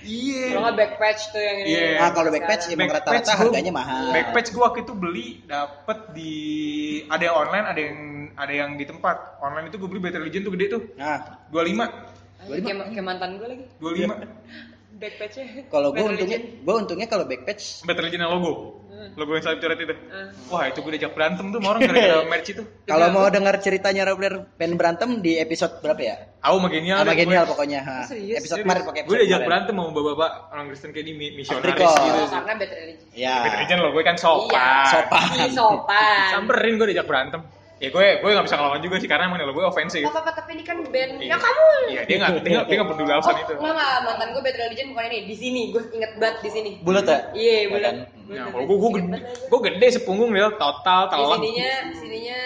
Speaker 1: iya
Speaker 4: kalau nggak back patch tuh yang ini
Speaker 1: Iya.
Speaker 2: Nah, kalau backpatch emang
Speaker 1: Backpatch
Speaker 2: rata-rata
Speaker 1: gua-
Speaker 2: harganya mahal.
Speaker 1: backpatch gue waktu itu beli dapet di ada yang online ada yang ada yang di tempat online itu gue beli Battle Legion tuh gede tuh
Speaker 2: Nah,
Speaker 1: 25
Speaker 2: iya.
Speaker 4: Anjing, Iya. kayak, kayak mantan gue lagi
Speaker 1: 25
Speaker 4: back patchnya
Speaker 2: kalau gue
Speaker 4: Battle
Speaker 2: untungnya,
Speaker 4: Legend.
Speaker 2: gue untungnya kalau backpatch
Speaker 1: Battle Legion yang logo
Speaker 4: Hmm.
Speaker 1: logo yang salib coret itu
Speaker 4: Hmm.
Speaker 1: wah itu gue diajak berantem tuh sama orang gara-gara merch itu
Speaker 2: kalau mau dengar ceritanya Robler Pen berantem di episode berapa ya?
Speaker 1: Aku mah genial
Speaker 2: Sama
Speaker 1: deh,
Speaker 2: genial
Speaker 1: gue.
Speaker 2: pokoknya. Ha.
Speaker 4: Serius?
Speaker 2: Episode kemarin pakai
Speaker 1: Gue
Speaker 2: episode
Speaker 1: diajak
Speaker 2: kemarin.
Speaker 1: berantem sama bapak-bapak orang Kristen kayak di mi- misionaris
Speaker 2: Afrika.
Speaker 1: gitu.
Speaker 4: Oh, karena beda religion
Speaker 2: Ya.
Speaker 1: Peter lo gue kan sopan.
Speaker 2: Iya, Sopan.
Speaker 4: Ih, sopan
Speaker 1: Samperin gue diajak berantem. Ya gue gue gak bisa ngelawan juga sih karena emang lo gue ofensif.
Speaker 4: Gak apa-apa tapi ini kan band
Speaker 1: Iya.
Speaker 4: ya kamu
Speaker 1: Iya dia nggak dia nggak dia nggak peduli alasan
Speaker 4: oh,
Speaker 1: itu.
Speaker 4: enggak, enggak, mantan gue Bad Religion bukan ini, di sini, gue inget banget di sini.
Speaker 2: Bulat ya?
Speaker 4: Iya,
Speaker 2: Ya
Speaker 4: bulat.
Speaker 2: kan?
Speaker 1: Nah, kalau gue gue gede, gue gede sepunggung dia total
Speaker 4: Di
Speaker 1: telak.
Speaker 4: sininya, sininya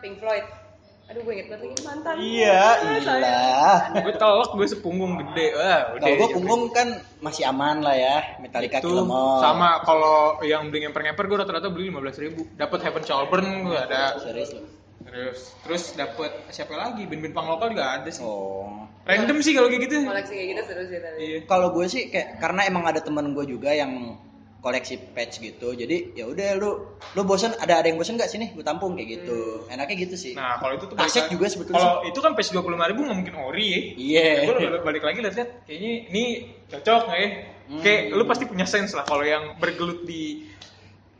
Speaker 4: Pink Floyd. Aduh, gue inget banget lagi mantan.
Speaker 2: Iya, iya.
Speaker 1: Gue telak gue sepunggung gede. Wah, udah.
Speaker 2: Kalau gue
Speaker 1: ya,
Speaker 2: punggung kan masih aman lah ya, Metallica
Speaker 1: itu
Speaker 2: Killemore.
Speaker 1: sama kalau yang beli ngemper ngemper gue rata-rata beli 15.000 ribu dapat Heaven Shall Burn gue ada
Speaker 2: Serius loh.
Speaker 1: Terus terus dapat siapa lagi? Band-band punk lokal juga ada sih.
Speaker 2: Oh.
Speaker 1: Random sih kalau kayak gitu.
Speaker 4: koleksi kayak gitu seru sih tapi
Speaker 1: Iya.
Speaker 2: Kalau gue sih kayak karena emang ada teman gue juga yang koleksi patch gitu. Jadi ya udah lu lu bosen ada ada yang bosen gak sini? Gue tampung kayak gitu. Enaknya gitu sih.
Speaker 1: Nah, kalau itu tuh
Speaker 2: Aset
Speaker 1: balik-
Speaker 2: juga sebetulnya
Speaker 1: Kalau itu kan patch 25 ribu nggak mungkin ori ya.
Speaker 2: Iya.
Speaker 1: Gue balik lagi lihat-lihat kayaknya ini cocok nggak ya?
Speaker 2: Hmm.
Speaker 1: Kayak lu pasti punya sense lah kalau yang bergelut di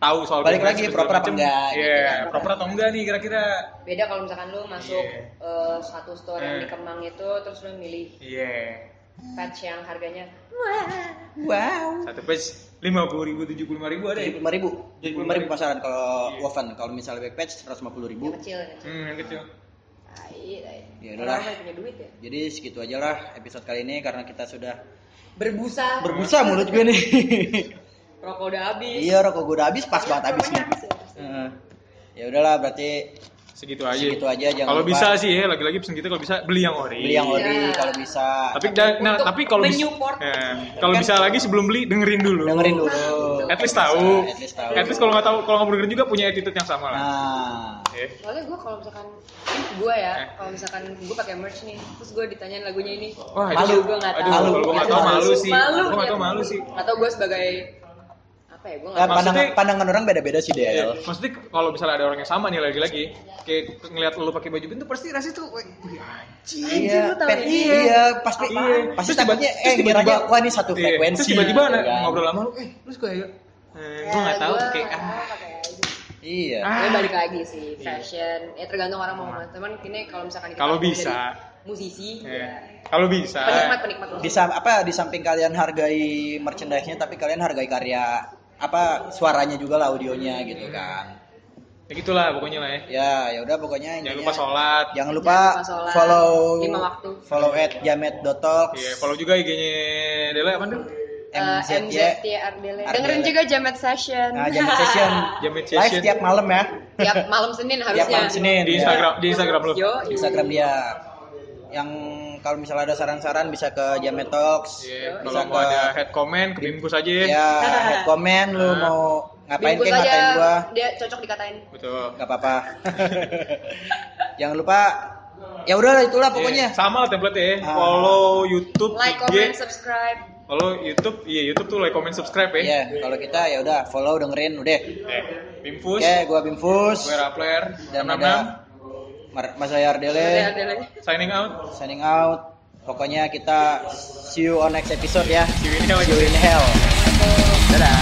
Speaker 1: tahu soal
Speaker 2: Balik
Speaker 1: band
Speaker 2: lagi,
Speaker 1: segala
Speaker 2: proper apa
Speaker 1: macem.
Speaker 2: enggak,
Speaker 1: Iya,
Speaker 2: gitu kan.
Speaker 1: proper atau enggak nih kira-kira?
Speaker 4: beda kalau misalkan lu masuk
Speaker 1: Iya.
Speaker 4: eh, satu store yang
Speaker 1: Eh.
Speaker 4: di Kemang itu terus lu milih
Speaker 1: Iya.
Speaker 4: patch yang harganya
Speaker 2: Wow.
Speaker 1: Satu patch 50 ribu, 75 ribu ada ya?
Speaker 2: Jadi lima ribu, jadi lima ribu pasaran kalau
Speaker 1: Iya.
Speaker 2: Woven, kalau misalnya back patch seratus ribu.
Speaker 4: yang kecil yang kecil
Speaker 1: Hmm, yang kecil.
Speaker 4: tai tai
Speaker 2: Ya udahlah.
Speaker 4: orang nggak punya duit ya
Speaker 2: Jadi segitu aja lah episode kali ini karena kita sudah
Speaker 4: berbusa
Speaker 2: berbusa mulut gue nih.
Speaker 4: rokok udah habis
Speaker 2: iya rokok gue udah habis pas banget habis
Speaker 4: rokoknya
Speaker 2: nih.
Speaker 4: Iya.
Speaker 2: Heeh. Ya udahlah berarti
Speaker 1: Segitu aja.
Speaker 2: Segitu aja, jangan
Speaker 1: Kalau
Speaker 2: lupa.
Speaker 1: bisa sih ya, lagi-lagi pesan kita kalau bisa beli yang ori.
Speaker 2: beli yang ori
Speaker 4: Iya.
Speaker 2: kalau bisa.
Speaker 1: Tapi dan- nah,
Speaker 4: Untuk
Speaker 1: tapi kalau bisa,
Speaker 4: menyupport.
Speaker 1: eh, kalau bisa lagi sebelum beli dengerin dulu.
Speaker 2: Kan dengerin dulu.
Speaker 1: At least tahu.
Speaker 2: At least tahu.
Speaker 1: At least kalau nggak tahu, kalau nggak mau dengerin juga punya attitude yang sama lah.
Speaker 2: Nah.
Speaker 1: Eh,
Speaker 4: soalnya gue kalau misalkan gue ya
Speaker 1: Eh.
Speaker 4: kalau misalkan gue pakai merch nih terus gue ditanyain lagunya ini
Speaker 1: Wah, itu-
Speaker 4: malu gue nggak
Speaker 1: aduh,
Speaker 4: tahu
Speaker 1: kalau
Speaker 2: gue nggak
Speaker 4: Itu
Speaker 2: tahu, malu
Speaker 1: sih.
Speaker 4: malu
Speaker 1: Gue nggak tahu, malu sih.
Speaker 4: atau gue sebagai apa ya gue
Speaker 2: Nah,
Speaker 4: nggak tahu
Speaker 2: pandangan,
Speaker 1: Maksudnya-
Speaker 2: pandangan orang beda-beda sih
Speaker 1: Iya,
Speaker 2: Del.
Speaker 1: maksudnya kalau misalnya ada orang yang sama nih lagi-lagi, kayak ngelihat lu pakai baju band tuh pasti rasanya tuh, wah, wih, anjing.
Speaker 2: Iya,
Speaker 4: lu tahu
Speaker 2: pet-
Speaker 4: ya?
Speaker 2: iya, pasti
Speaker 1: Iya.
Speaker 2: pasti
Speaker 1: Terus tiba-
Speaker 2: takutnya
Speaker 1: terus
Speaker 2: eh
Speaker 1: tiba-tiba-
Speaker 2: kiranya wah ini satu
Speaker 1: Iya,
Speaker 2: frekuensi.
Speaker 1: Terus tiba-tiba ada
Speaker 2: gitu kan. Ya,
Speaker 1: ngobrol sama lu, eh, lu suka ya? Eh, gue nggak tahu tuh kayak ah,
Speaker 2: Iya.
Speaker 1: Ah.
Speaker 4: Ya, balik lagi sih fashion ya tergantung orang mau ngomong cuman ini kalau misalkan kita
Speaker 1: Kalau
Speaker 4: ngomong
Speaker 1: bisa.
Speaker 4: dari musisi
Speaker 1: eh,
Speaker 4: ya.
Speaker 1: kalau bisa.
Speaker 4: penikmat penikmat
Speaker 2: Di
Speaker 4: musik.
Speaker 2: sam- apa di samping kalian hargai merchandise-nya tapi kalian hargai karya apa suaranya juga lah audionya gitu kan.
Speaker 1: Ya gitulah pokoknya lah ya.
Speaker 2: Ya, ya udah pokoknya
Speaker 1: Jangan
Speaker 2: intinya-
Speaker 1: lupa sholat.
Speaker 2: Jangan lupa
Speaker 4: Jangan lupa sholat.
Speaker 2: follow
Speaker 4: Lima waktu.
Speaker 2: follow at jamet.talks.
Speaker 1: Iya, follow juga IG-nya Dela apa tuh?
Speaker 4: Eh,
Speaker 2: MZY.
Speaker 4: MZY Ardele. Dengerin
Speaker 2: Ardele.
Speaker 4: juga Jamet Session.
Speaker 2: Nah, Jamet Session.
Speaker 1: Jamet
Speaker 2: Live
Speaker 1: Session.
Speaker 2: tiap malam ya.
Speaker 4: Tiap malam Senin harusnya.
Speaker 2: Tiap malam Senin.
Speaker 1: Di
Speaker 2: ya.
Speaker 1: Instagram, di Instagram lu.
Speaker 4: Yo,
Speaker 2: Di Instagram dia. Yang kalau misalnya ada saran-saran bisa ke Jamet Talks.
Speaker 1: Iya,
Speaker 2: Bisa
Speaker 1: kalau mau
Speaker 2: ke-
Speaker 1: ada head comment ke Bimkus aja ya.
Speaker 2: Ya, head comment lu
Speaker 1: Nah.
Speaker 2: mau ngapain
Speaker 4: Bungkus
Speaker 2: kek
Speaker 4: aja,
Speaker 2: ngatain gua.
Speaker 4: Dia cocok dikatain.
Speaker 1: Betul.
Speaker 2: Gak apa-apa. Jangan lupa ya udahlah itulah
Speaker 1: Iya,
Speaker 2: pokoknya.
Speaker 1: sama lah template ya.
Speaker 2: Ah.
Speaker 1: Follow YouTube,
Speaker 4: Like,
Speaker 1: IG.
Speaker 4: comment, subscribe.
Speaker 1: Follow YouTube, iya YouTube tuh like, comment, subscribe ya.
Speaker 2: Iya, kalau kita ya udah follow dengerin udah.
Speaker 1: Eh, Bimfus,
Speaker 2: Oke, gua Bimfus.
Speaker 1: gue Rapler,
Speaker 2: Iya. dan
Speaker 1: 66,
Speaker 2: ada Mar- Mas Saya
Speaker 4: Ardele,
Speaker 2: Ardele
Speaker 4: Ardele.
Speaker 1: signing out.
Speaker 2: signing out pokoknya kita see you on next episode ya
Speaker 1: kan See you in hell.
Speaker 2: see you in hell dadah